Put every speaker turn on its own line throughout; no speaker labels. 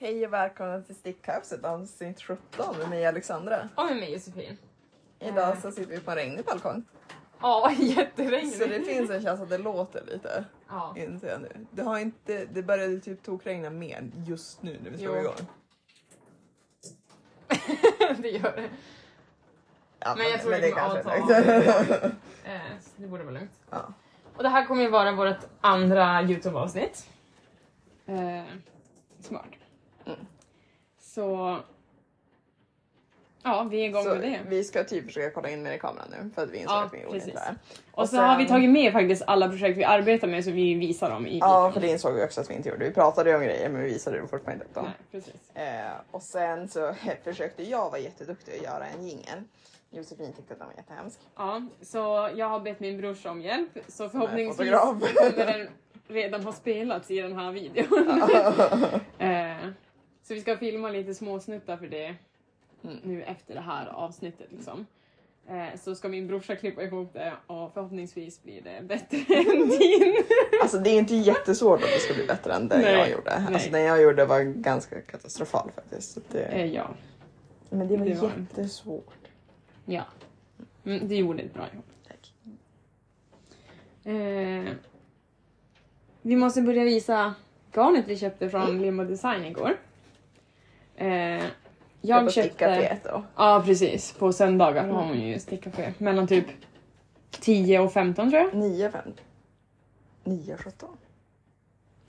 Hej och välkomna till Stickhuset avsnitt 17 med mig Alexandra.
Och med mig Josefin. Eh.
Idag så sitter vi på en regnig balkong.
Ja, jätteregnigt.
Så det finns en chans att det låter lite,
Ja.
inser jag nu. Det, har inte, det började typ tokregna mer just nu när vi slog
Jo.
igång.
det gör det.
Ja,
Men jag tror det kommer
är lugnt.
Eh, så det borde vara lugnt.
Ja.
Och det här kommer ju vara vårt andra Youtube-avsnitt. Eh, smart.
Mm.
Så... Ja, vi är igång
Så
med det.
vi ska typ försöka kolla in med i kameran nu för att vi insåg
Ja,
att vi gjorde inte
precis.
det här.
Och så
sen-
har vi tagit med faktiskt alla projekt vi arbetar med så vi visar dem i
Ja, för
videon.
det insåg vi också att vi inte gjorde. Vi pratade ju om grejer men vi visade det fortfarande inte upp dem.
Nej, precis.
Eh, och sen så försökte jag vara jätteduktig och göra en jingel. Josefin tyckte att den var jättehemsk.
Ja, så jag har bett min brorsa om hjälp så förhoppningsvis
fotograf.
kommer den redan ha spelats i den här videon. Eh, så vi ska filma lite småsnuttar för det
Mm.
nu efter det här avsnittet. Liksom. Eh, så ska min brorsa klippa ihop det och förhoppningsvis blir det bättre än din.
Alltså det är inte jättesvårt att det ska bli bättre än den
Nej,
jag gjorde. Alltså
nej.
den jag gjorde var ganska katastrofal faktiskt. Så det,
Eh, ja.
men det var
det var det.
jättesvårt.
ja. Mm, du gjorde ett bra jobb.
Tack.
Eh, vi måste börja visa garnet vi köpte
Mm.
från Limo Design igår. Eh, jag köpte...
då.
Ja, precis. På söndagar
Mm.
har hon ju stickcafé. Mellan typ 10 och 15 tror jag.
9.5. 9.17.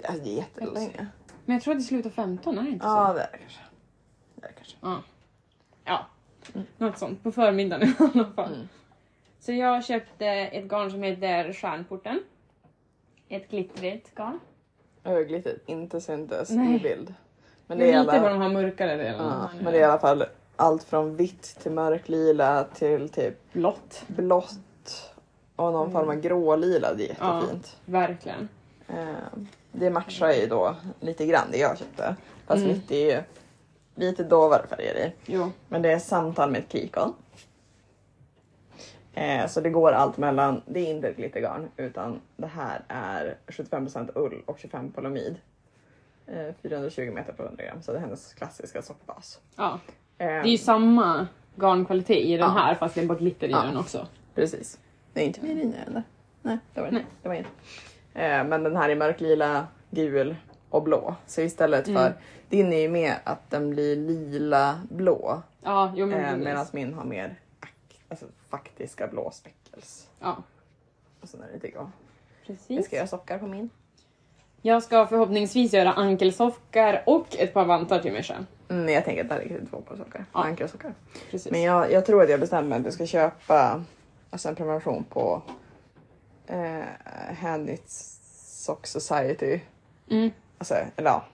Alltså det är jättelänge.
Men jag tror att det slutar 15, är det inte
Ja
så?
det är det kanske. Det är det kanske.
Ja. Något sånt. På förmiddagen i alla fall.
Mm.
Så jag köpte ett garn som heter Stjärnporten. Ett glittrigt garn.
Ögligt inte syntes i
Nej.
bild. Men det
Lite
är
alla...
alla...
vad de har mörkare delen.
Ja, men det är i alla fall allt från vitt till mörklila till typ
blått.
blått och någon form av grålila. Det är
Mm. Ja.
jättefint.
Verkligen.
Eh, Det matchar ju då lite grann det jag köpte. Fast
Mm.
mitt är ju lite dovare färger i.
Jo.
Men det är samtal med ett kikon. Eh, Så det går allt mellan, det är inte ett glittergarn utan det här är 75% ull och 25 polymid. Eh, 420 meter på 100 gram så det är hennes klassiska soppbas.
Ja.
Eh,
Det är ju samma garnkvalitet i den
Ja.
här fast det är bara glitter i
Ja.
den också.
Precis. Det är inte Virginia eller? Nej, det var det,
Nej.
det var inte. Eh, men den här är mörklila, gul och blå. Så istället
Mm.
för din är ju mer att den blir lila blå
Ja, jo men
eh,
precis.
medan min har mer ak- alltså, faktiska blå speckels.
Ja,
Och sen är det lite grå. Vi
precis.
ska göra sockar på min.
Jag ska förhoppningsvis göra ankelsockar och ett par vantar till mig själv.
Mm, jag tänker att det här är två par sockar.
Ja.
Ankelsockar.
Precis.
Men jag, jag tror att jag bestämmer att jag ska köpa alltså en prenumeration på eh, Handknit Sock Society.
Mm.
alltså, eller ja,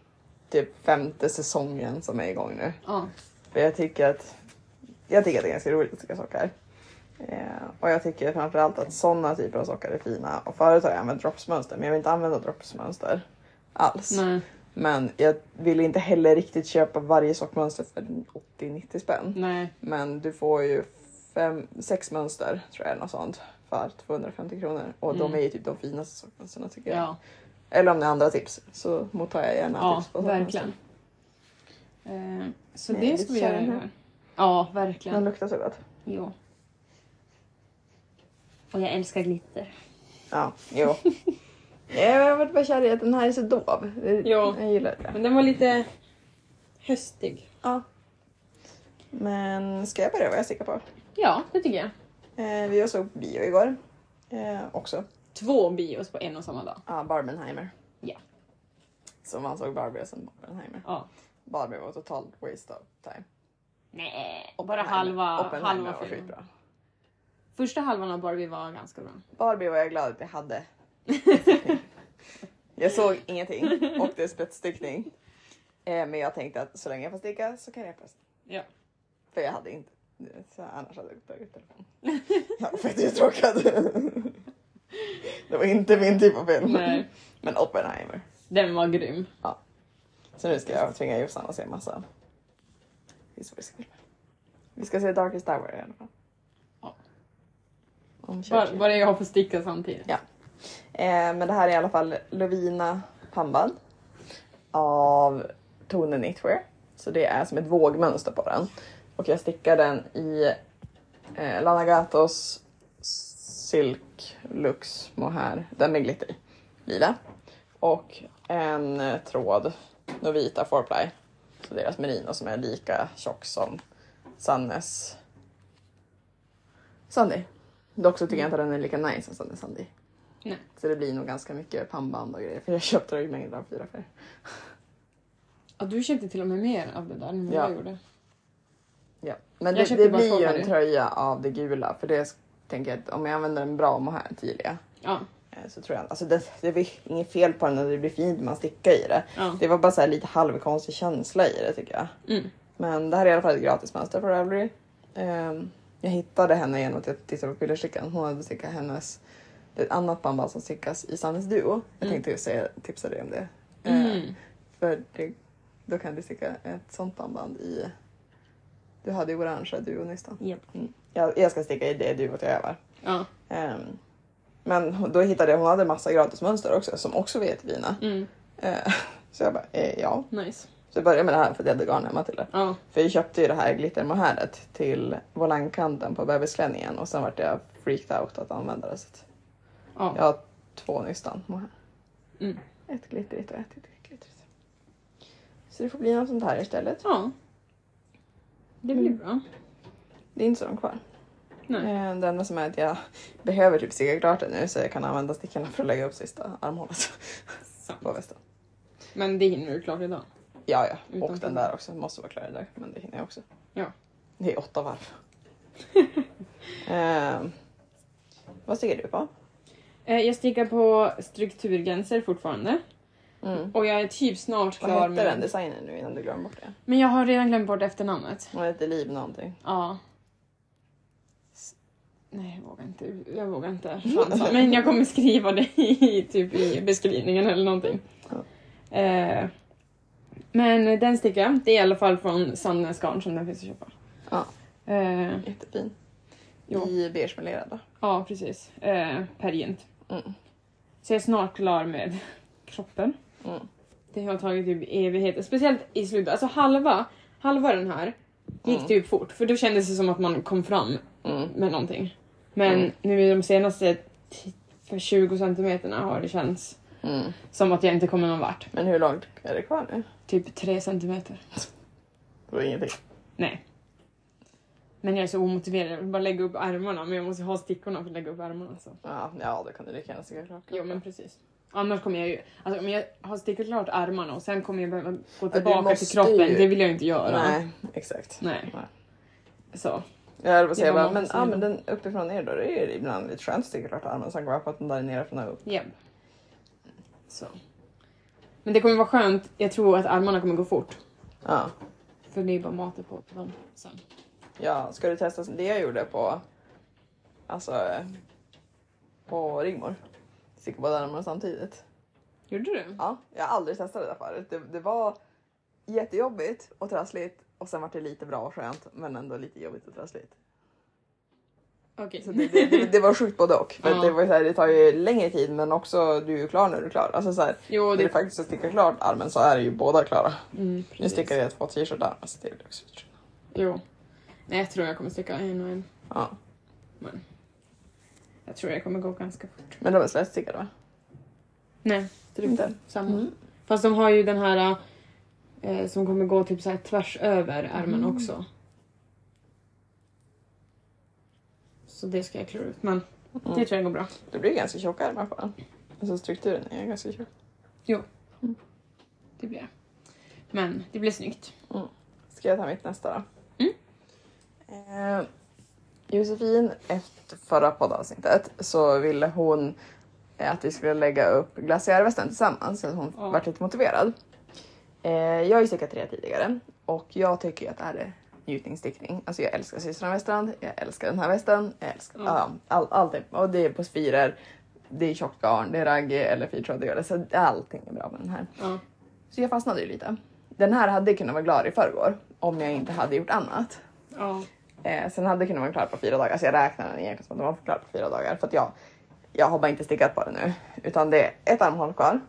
typ femte säsongen som är igång nu.
Ja.
För jag tycker att, jag tycker att det är ganska roligt att sticka sockar. Eh, och jag tycker framförallt att sådana typer av sockar är fina. Och förut har jag använt droppsmönster men jag vill inte använda droppsmönster alls.
Nej,
Men jag vill inte heller riktigt köpa varje sockmönster för 80-90 spänn.
nej.
Men du får ju fem, sex mönster tror jag eller något sånt för 250 kronor. Och de
Mm.
är ju typ de finaste sockmönstren tycker jag.
Ja,
Eller om ni har andra tips så mottar jag gärna
ja
tips. på sådana
verkligen. Eh, så
Nej,
det
vi
ska vi
kör
göra
den
nu.
här.
här. Ja,
saker. Den
verkligen.
luktar så gott.
Jo. Och jag älskar glitter.
Ja, jo. jag har varit bara kär i att den här är så dov.
Jo.
Jag gillar det.
Men den var lite höstig.
Ja. Men ska jag börja vad jag stickar på?
Ja, det tycker jag.
Eh, vi såg bio igår. Eh, också.
Två bios på en och samma dag.
Ja, Barbenheimer.
Ja.
Så man såg Barbie och sen Barbenheimer.
Ja.
Barbie var total waste of time.
Nej,
och
bara halva,
Oppenheimer
halva
var
filmen.
skitbra.
Första halvan av Barbie var ganska bra.
Barbie var jag glad att jag hade. jag såg ingenting och det är spetsstickning. Eh, men jag tänkte att så länge jag får sticka så kan jag pressa.
Ja.
För jag hade inte. Så annars hade jag tagit telefonen. Jag var fett uttråkad. Det var inte min typ av film.
Nej,
Men Oppenheimer.
den var grym.
Så nu ska jag tvinga Jossan att se massa historiska filmer. Vi ska se Darkest Hour i alla fall.
Ja.
Om
Vad
Churchill.
vad det är jag har för sticka samtidigt.
Eh, men det här är i alla fall Lovina pannband. Av Tone Knitwear. Så det är som ett vågmönster på den. Och jag stickar den i eh, Lana Gatos Silk Lux Mohair, den med glitter i, lila. Och en eh, tråd Novita 4ply. Så deras merino som är lika tjock som Sannes Sandy. Dock så tycker jag inte att den är lika nice som Sanne Sandy.
Nej.
Så det blir nog ganska mycket pannband och grejer för jag köpte ju mängder av fyra färger.
Ja, du köpte till och med mer av det där än vad
Ja.
jag gjorde.
Ja. Men
Jag
det,
köpte
det
bara två
blir ju
färger.
en tröja av det gula för det tänker jag att om jag använder en bra mohair tidiga
Ja,
eh, så tror jag alltså det, det blir inget fel på den och det blir fint när man stickar i det.
ja.
Det var bara så här lite halvkonstig känsla i det tycker jag.
Mm.
Men det här är i alla fall ett gratismönster på Ravelry. Ehm, jag hittade henne genom att jag tittade på pillerstickan. Hon hade stickat hennes, det är ett annat band som stickas i Sannes Duo. Jag
Mm.
tänkte säga, tipsa dig om det. Ehm,
Mm.
För det, då kan du sticka ett sånt bandband i... Du hade ju orangea duonistan.
Japp.
Mm. Jag, jag ska sticka i det duot jag övar.
Ja.
Ehm, men hon- då hittade jag, hon hade massa gratismönster också som också var jättefina.
Mm.
Ehm, så jag bara, eh, ja.
Nice.
Så jag började med det här för att jag hade garn hemma till det.
Ja.
För jag köpte ju det här glittermohäret till volangkanten på bebisklänningen och sen vart jag freaked out att använda det. Så att
Ja.
jag har två nystan mohair.
Mm.
Ett glittrigt och ett inte glittrigt. Så det får bli något sånt här istället.
ja. Det blir bra.
Det är inte så långt kvar.
Nej.
Eh, Det enda som är att jag behöver typ sticka klart det nu så jag kan använda stickorna för att lägga upp sista armhålet
Sant.
på västen.
Men det hinner du klart idag.
Ja, ja.
Utan
och den där också. Måste vara klar idag, men det hinner jag också.
Ja.
Det är åtta varv. Ehm, vad sticker du på?
Eh, Jag stickar på strukturgränser fortfarande.
Mm.
Och jag är typ snart
Vad
klar
hette
med...
den designen nu innan du glömmer bort det?
Men jag har redan glömt bort efternamnet.
Hon hette Liv någonting.
Ja. S- Nej, jag vågar inte. Jag vågar inte chansa. Men jag kommer skriva det i, typ i beskrivningen eller någonting. Eh, men den stickar jag. Det är i alla fall från Sandnes Garn som den finns att köpa.
Ja.
Eh,
Jättefin.
Jo.
I beige med lera då.
ja, precis. Eh, Pergint.
Mm.
Så jag är snart klar med kroppen.
Mm.
Det har tagit typ evigheter. Speciellt i slutet. Alltså halva, halva den här gick
Mm.
typ fort. För då kändes det som att man kom fram
Mm.
med någonting. Men
Mm.
nu i de senaste t- för 20 centimeterna har det känts
Mm.
som att jag inte kommer någon vart.
Men hur långt är det kvar nu?
Typ 3 centimeter.
Det var ingenting.
Nej. Men jag är så omotiverad. Jag vill bara lägga upp ärmarna. Men jag måste ha stickorna för att lägga upp ärmarna. Så.
Ja, ja då kan du lika gärna sticka klart.
Jo men precis. Annars kommer jag ju... Alltså om jag har stickat klart ärmarna och sen kommer jag behöva gå
du
tillbaka
måste
till kroppen.
ju-
Det vill jag ju inte göra.
Nej, exakt.
Nej.
Nej.
Så.
Jag höll på att säga
Det var
bara, men,
många
ja,
sidor.
men den uppifrån ner då, det är ju ibland lite skönt att sticka klart armen och sen går jag på att den där nerifrån och upp.
Japp. Så. Men det kommer vara skönt. Jag tror att armarna kommer gå fort.
Ja.
För det är bara matet på dem sen.
ja, ska du testa det jag gjorde på, alltså, eh, på Rigmor? Sticka båda armarna samtidigt.
Gjorde du?
Ja, jag har aldrig testat det där förut. Det, det var jättejobbigt och trassligt och sen var det lite bra och skönt men ändå lite jobbigt och trassligt.
Okej.
Så det, det, det, det var sjukt både och. För
Ja.
att det, var ju så här, det tar ju längre tid men också du är ju klar när du är klar. Alltså så här,
Jo,
när
det...
du faktiskt stickar klart armen så är ju båda klara.
Mm,
Nu
precis.
stickade jag två t-shirtar. Alltså det blir också utrymme.
Jo. Nej, jag tror jag kommer sticka en och en.
Ja.
Jag tror jag kommer gå ganska fort.
Men de är slätstickade va? Mm.
Nej, typ
Inte?
samma. Fast de har ju den här eh, som kommer gå typ så här tvärs över ärmen
Mm.
också. Så det ska jag klura ut, men det
Mm.
tror jag går bra.
Det blir ganska tjocka ärmar på den. Alltså strukturen är ganska tjock.
Det blir jag. Men det blir snyggt.
Ska jag ta mitt nästa då?
Mm.
Eh, Josefin, efter förra poddavsnittet så ville hon eh, att vi skulle lägga upp glaciärvästen tillsammans så att hon
Ja.
vart lite motiverad. Eh, jag har ju stickat tre tidigare och jag tycker ju att det här är njutningsstickning. Alltså jag älskar systrarna västen, jag älskar den här västen, jag älskar
Mm.
ja, all, allt. det- Och det är på spirer, det är tjockt garn, det är ragg eller fyrtrådig så allting är bra med den här.
Ja.
Så jag fastnade ju lite. Den här hade kunnat vara klar i förrgår om jag inte hade gjort annat.
Ja.
Eh, sen hade den kunnat vara klar på fyra dagar så jag räknar den egentligen som att den var klar på fyra dagar för att jag, jag har bara inte stickat på den nu. Utan det är ett armhål kvar.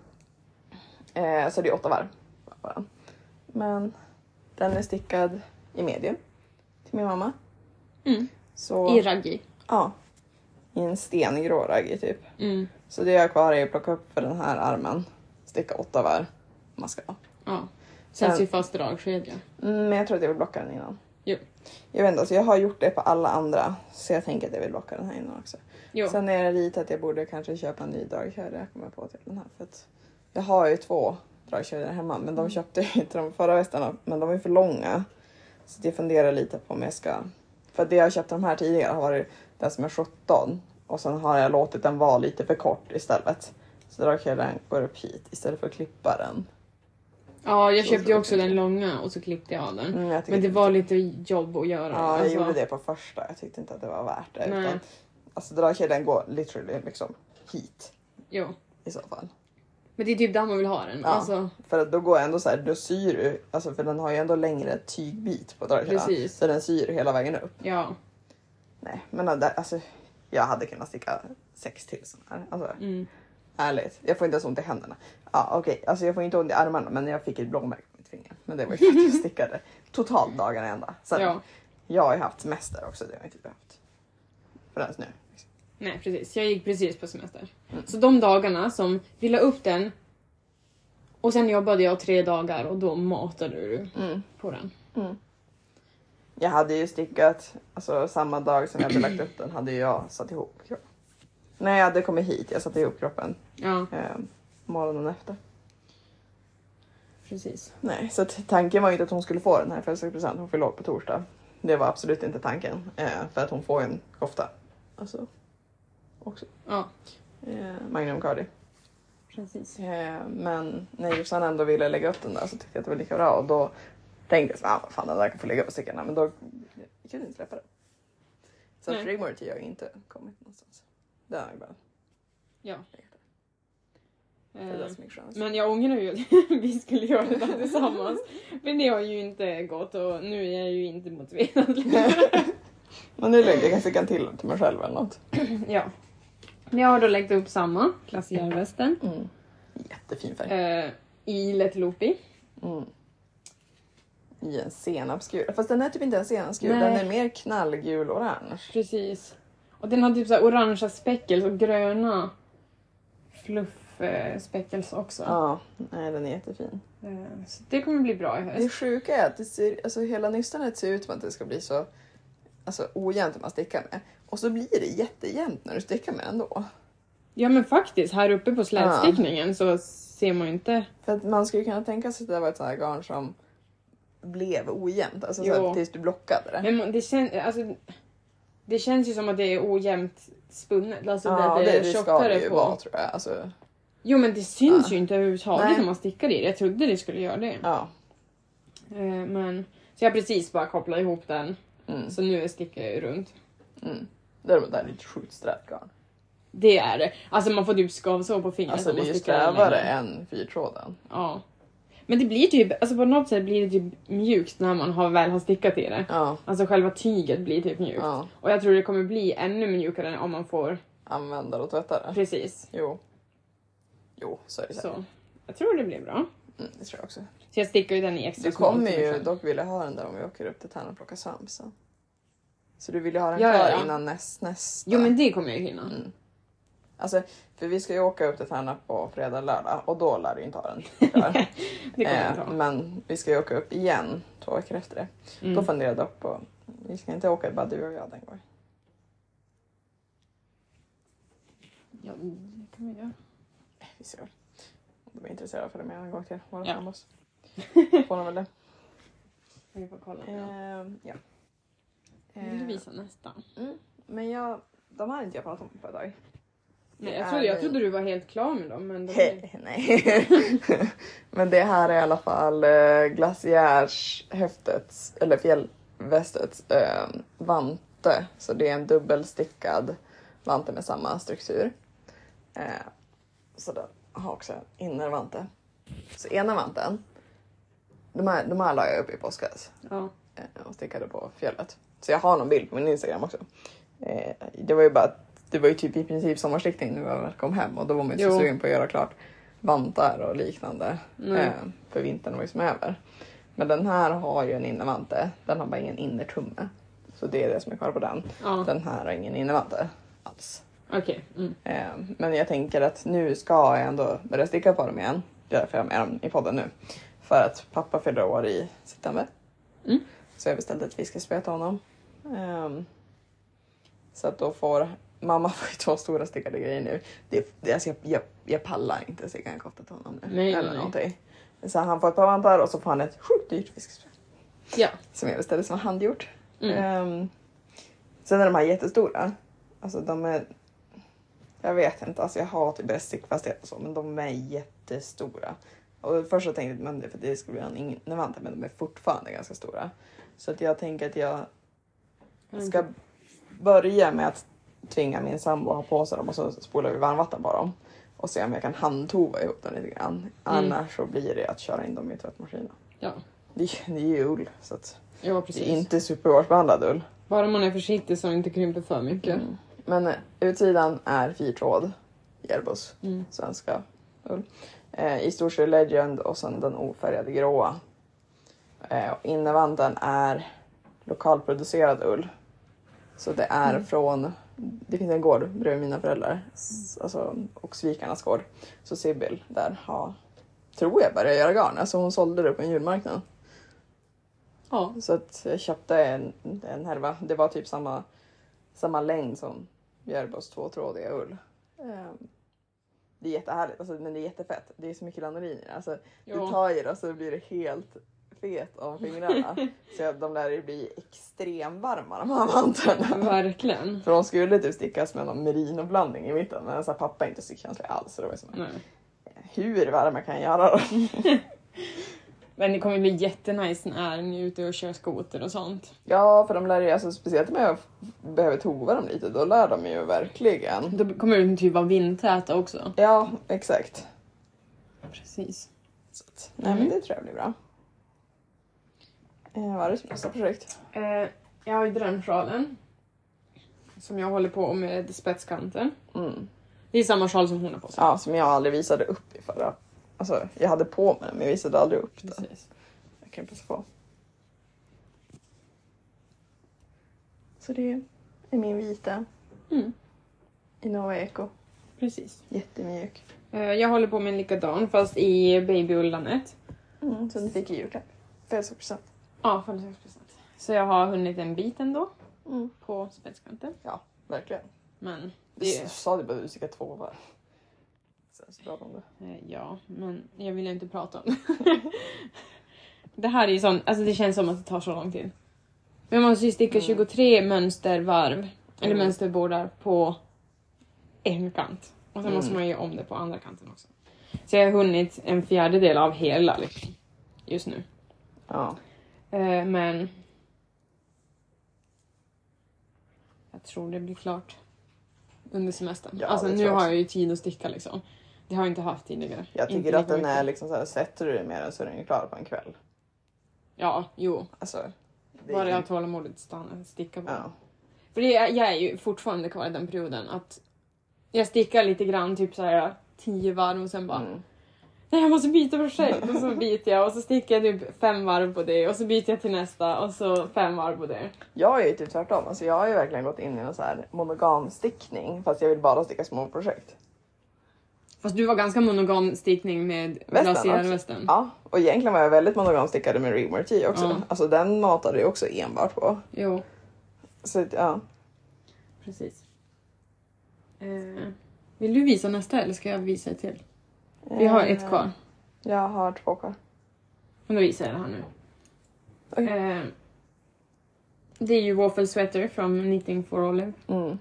Eh, så det är åtta varv på den. Men den är stickad i medium till min mamma.
Mm.
Så,
I raggi.
ja, I en stengrå raggi typ.
Mm.
Så det jag har kvar är att plocka upp för den här armen, sticka åtta var om man ska.
Ja.
Sen-
Sen sy fast dragkedja.
Mm, Men jag tror att jag vill blocka den innan.
Jo.
Jag vet inte, alltså jag har gjort det på alla andra så jag tänker att jag vill blocka den här innan också.
Jo.
Sen är det lite att jag borde kanske köpa en ny dragkedja jag kommer på till den här. För att jag har ju två dragkedjor hemma men
Mm.
de köpte jag inte de förra västarna men de är för långa. Så att jag funderar lite på om jag ska... För att det jag köpte de här tidigare har varit den som är 17 och sen har jag låtit den vara lite för kort istället. Så dragkedjan går upp hit istället för att klippa den.
ja, jag
Så
köpte
tror
ju
jag
också den långa och så klippte jag av den.
Mm, jag tycker
Men det
inte-
var lite jobb att göra.
Ja, jag
Alltså,
gjorde det på första. Jag tyckte inte att det var värt det.
Nej.
Utan, alltså dragkedjan går literally liksom hit
Jo.
i så fall.
Men det är typ där man vill ha den.
Ja.
Alltså,
För att då går jag ändå så här, då syr du, alltså för den har ju ändå längre tygbit på dragkedjan.
Precis.
Så den syr hela vägen upp.
ja.
Nej, men det- alltså jag hade kunnat sticka sex till sån här. Alltså
Mm.
ärligt, jag får inte ens ont i händerna. Ja okej, alltså jag får inte ont i armarna men jag fick ett blåmärke på mitt finger. Men det var ju för att jag stickade totalt dagarna ända. Sen,
ja.
Jag har ju haft semester också, det har jag inte behövt. Förrän nu. Liksom.
Nej, precis. Jag gick precis på semester.
Mm.
Så de dagarna som vi la upp den och sen jobbade jag tre dagar och då matade du
Mm.
på den.
Jag hade ju stickat, alltså samma dag som jag hade lagt upp den hade jag satt ihop kroppen. När jag hade kommit hit, jag satte ihop kroppen
Ja,
eh, morgonen efter.
precis.
Nej, så att tanken var ju inte att hon skulle få den här födelsedagspresent, hon fyller år på torsdag. Det var absolut inte tanken, eh, för att hon får en kofta. Alltså, också.
Ja,
Eh, Magnum Cardi.
precis.
Eh, men när Jossan ändå ville lägga upp den där så tyckte jag att det var lika bra och då tänkte jag så, ah, vad fan den där kan få ligga på stickorna men då jag kunde inte släppa den. Så
Nej.
Frigmorty har ju inte kommit någonstans. Det har jag bara
Ja.
legat där. Det är
Eh,
det som är skönast.
men jag ångrar ju att vi skulle göra det där tillsammans. Men det har ju inte gått och nu är jag ju inte motiverad längre.
Men nu lägger jag kanske kan till till mig själv eller något.
Ja. Men Jag har då lagt upp samma, klasslärarvästen,
Mm. Jättefin färg.
eh, i Let Loopy.
Mm. I en senapsgul. Fast den är typ inte en senapsgul,
Nej.
den är mer knallgul-orange.
Precis. Och den har typ så här orangea speckles och gröna fluffspeckles också.
Ja, nej den är jättefin.
Eh, Så det kommer bli bra i
Det
höst.
sjuka är att det ser, alltså, hela nystanet ser ut som att det ska bli så alltså, ojämnt när man stickar med. Och så blir det jättejämnt när du stickar med ändå.
Ja men faktiskt, här uppe på slätstickningen så ser man ju inte.
För att man skulle kunna tänka sig att det var ett sånt här garn som blev ojämnt, alltså så här,
Jo.
tills du blockade det.
Men man- det, kän, alltså, det känns ju som att det är ojämnt spunnet. Alltså
ja,
det,
det, det
det är
ska det
tjockare
ju
på.
vara tror jag. Alltså,
Jo men det syns
Ja.
ju inte överhuvudtaget
Nej.
när man stickar i det. Jag trodde det skulle göra det.
ja.
Eh, Men, så jag har precis bara kopplat ihop den.
Mm,
Så nu stickar jag ju runt.
mm. Däremot är det ett sjukt strävt garn.
Det är det. Alltså man får typ skavsår på fingret.
Alltså
om
det
man
är ju
stickar den
strävare
länge.
än fyrtråden.
Ja. Men det blir typ, alltså på något sätt blir det typ mjukt när man har, väl har stickat i det.
Ja,
Alltså själva tyget blir typ mjukt.
ja.
Och jag tror det kommer bli ännu mjukare om man får,
Användare och tvättare.
precis.
Jo. Jo, så är det säkert.
Så. Jag tror det blir bra.
Mm, det tror jag också.
Så jag stickar ju den i extra
Du
small
kommer
till
ju
exempel.
dock vilja ha den där om vi åker upp till Tärna och plockar svamp sen. Så du vill ju ha den
Ja, ja,
klar
ja.
innan näst, nästa.
Jo men det kommer jag ju hinna.
Mm. Alltså, för vi ska ju åka upp till Tärna på fredag, lördag och då lär du inte ha den klar.
Det kommer jag
eh,
ta.
men vi ska ju åka upp igen två veckor efter det. Då
Mm.
funderar jag dock på, vi ska inte åka bara du och jag den gången.
Ja, det kan vi göra.
Eh, Vi ser väl. Om de är intresserade för det med en gång till. Våra
Ja.
sambos. Får de väl det.
Vi får kolla. Ja.
Eh, ja.
Vill du
Eh,
visa nästa?
Mm. Men jag, de här har inte jag pratat om på ett tag.
Nej,
Det
jag,
är
trodde, jag
det.
trodde du var helt klar med dem men... De...
Nej. Men det här är i alla fall eh, glaciärshäftets, eller fjällvästets, eh, vante. Så det är en dubbelstickad vante med samma struktur. Eh, så den har också en innervante. Så ena vanten, de här, de här la jag upp i påskas
Ja.
eh, och stickade på fjället. Så jag har någon bild på min Instagram också. Eh, Det var ju bara det var ju typ i princip sommarstickning när jag kom hem och då var man ju inte så
Jo.
sugen på att göra klart vantar och liknande.
Nej.
Eh, För vintern var ju som över. Men den här har ju en innervante. Den har bara ingen innertumme. Så det är det som är kvar på den.
Ja,
Den här har ingen innervante alls.
okej. Mm.
Eh, Men jag tänker att nu ska jag ändå börja sticka på dem igen. Det är därför jag har med dem i podden nu. För att pappa fyller år i september.
Mm.
Så jag beställde ett fiskespö till honom. Ehm, så att då får mamma får ju två stora stickade grejer nu. Det, det, alltså jag, jag, jag pallar inte sticka en kofta till honom nu.
Nej,
eller
nej.
någonting. Så han får ett par vantar och så får han ett sjukt dyrt fiskespö.
Ja.
Som jag beställde som var handgjort.
Mm.
Ehm, sen är de här jättestora. Alltså de är... Jag vet inte, alltså jag har typ bäst stickfasthet och så, men de är jättestora. Och först så tänkte jag men det, för det skulle bli en innevante, men de är fortfarande ganska stora. Så att jag tänker att jag
Mm.
ska börja med att tvinga min sambo att ha på sig dem och så spolar vi varmvatten på dem. Och se om jag kan handtova ihop dem lite grann.
Mm.
Annars så blir det att köra in dem i tvättmaskinen.
Ja,
Det är det är ju ull, så att
ja
det
precis.
är inte superhårsbehandlad ull.
Bara man är försiktig så man inte krymper för mycket.
Mm. Men eh, utsidan är fyrtråd, Jerbos,
Mm.
svenska ull. Eh, I stort sett Legend och sen den ofärgade gråa. Eh, och innevanten är lokalproducerad ull. Så det är
Mm.
från, det finns en gård bredvid mina föräldrar, s- alltså, och svikarnas gård. Så Sibyl där har, tror jag, börjat göra garn. Alltså hon sålde det på en julmarknad.
Ja.
Så att jag köpte en, en härva. Det var typ samma, samma längd som Bjärbos tvåtrådiga ull. Ehm, Det är jättehärligt, alltså, men det är jättefett. Det är så mycket lanolin i det. Alltså, Du
ja.
tar i det och så blir det helt fet om fingrarna. så att de lär ju bli extremvarma de här vantarna.
Verkligen.
För de skulle typ stickas med någon merinoblandning i mitten men så här, pappa är inte stickkänslig alls. Så det var ju så här,
Nej.
hur varma kan jag göra dem?
Men det kommer bli jättenice när ni är ute och kör skoter och sånt.
Ja, för de lär ju, alltså, speciellt om jag behöver tova dem lite, då lär de ju verkligen.
Då kommer de typ vara vindtäta också.
Ja, exakt.
Precis.
Så att, nej, men det tror jag blir bra. Eh, vad är det som nästa projekt?
Eh, jag har ju drömsjalen. Som jag håller på med spetskanten.
Mm.
Det är samma sjal som hon har på sig.
Ja, som jag aldrig visade upp i förra... Alltså, jag hade på mig den, men jag visade aldrig upp den.
Precis.
Jag kan passa på. Så det är min vita
Mm,
Innova Eco.
precis.
Jättemjuk.
Eh, jag håller på med en likadan fast i babyullanet.
Mm, som du fick i julklapp. Födelsedagspresent.
Ja, 56%. Så jag har hunnit en bit ändå
Mm,
på spetskanten.
verkligen.
Men
Du
det...
sa du bara att du ska två var. Sen så pratade om det.
Eh, Ja, men jag vill ju inte prata om det. det här är ju sån, alltså det känns som att det tar så lång tid. Men man måste ju sticka
Mm.
23 mönstervarv, eller
Mm.
mönsterbordar på en kant. Och sen
Mm.
måste man ju om det på andra kanten också. Så jag har hunnit en fjärdedel av hela liksom, just nu.
Ja.
Eh, men... Jag tror det blir klart under semestern.
Ja,
alltså
det
nu
tror jag
har
också.
jag ju tid att sticka liksom. Det har jag inte haft tidigare.
Jag
Inte
tycker
lika
att den
mycket.
är liksom så här, sätter du dig med den så är den ju klar på en kväll.
Ja, jo.
Alltså, det är
Bara
ju-
jag har tålamodet att stanna och sticka på.
ja.
För det, är- jag är ju fortfarande kvar i den perioden att jag stickar lite grann, typ såhär tio varv och sen bara
Mm.
Nej jag måste byta projekt! Och så byter jag och så stickar jag typ fem varv på det och så byter jag till nästa och så fem varv på det.
Jag är ju typ tvärtom. Alltså, jag har ju verkligen gått in i en så här monogam stickning fast jag vill bara sticka små projekt.
Mm. Fast du var ganska monogam stickning med
Västen
glaciärvästen.
Ja, och egentligen var jag väldigt monogam stickade med Reamer Tea också.
Ja.
Alltså den matade jag också enbart på.
Jo,
Så att, ja.
precis. Eh, vill du visa nästa eller ska jag visa ett till? Vi har
Eh.
ett kvar.
Jag har två kvar.
Men då visar jag det här nu.
Oj.
Eh, det är ju Waffle Sweater från Knitting for Olive.
Mm.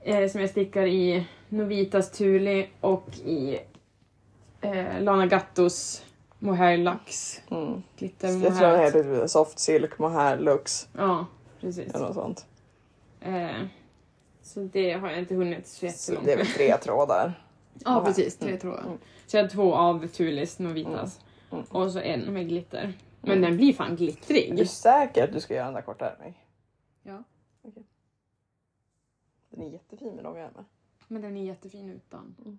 Eh, som jag stickar i Novitas Thule och i eh, Lana Gattos Mohair Lux.
Mm.
Glitter
Jag tror den
Mohair.
heter typ soft silk, mohair, lux
Ja, precis.
eller något sånt.
Eh, så det har jag inte hunnit så
Så
jättelångt
det är väl
med.
tre trådar.
Ja,
mohair.
precis. Tre
Mm.
trådar.
Mm.
Så jag har två av Thules Novitas.
Mm. Mm.
Och så en med glitter. Men
Mm.
den blir fan glittrig.
Är du säker att du ska göra den där korta ärmen?
Ja.
Okej. Den är jättefin med långa ärmar.
Men den är jättefin utan.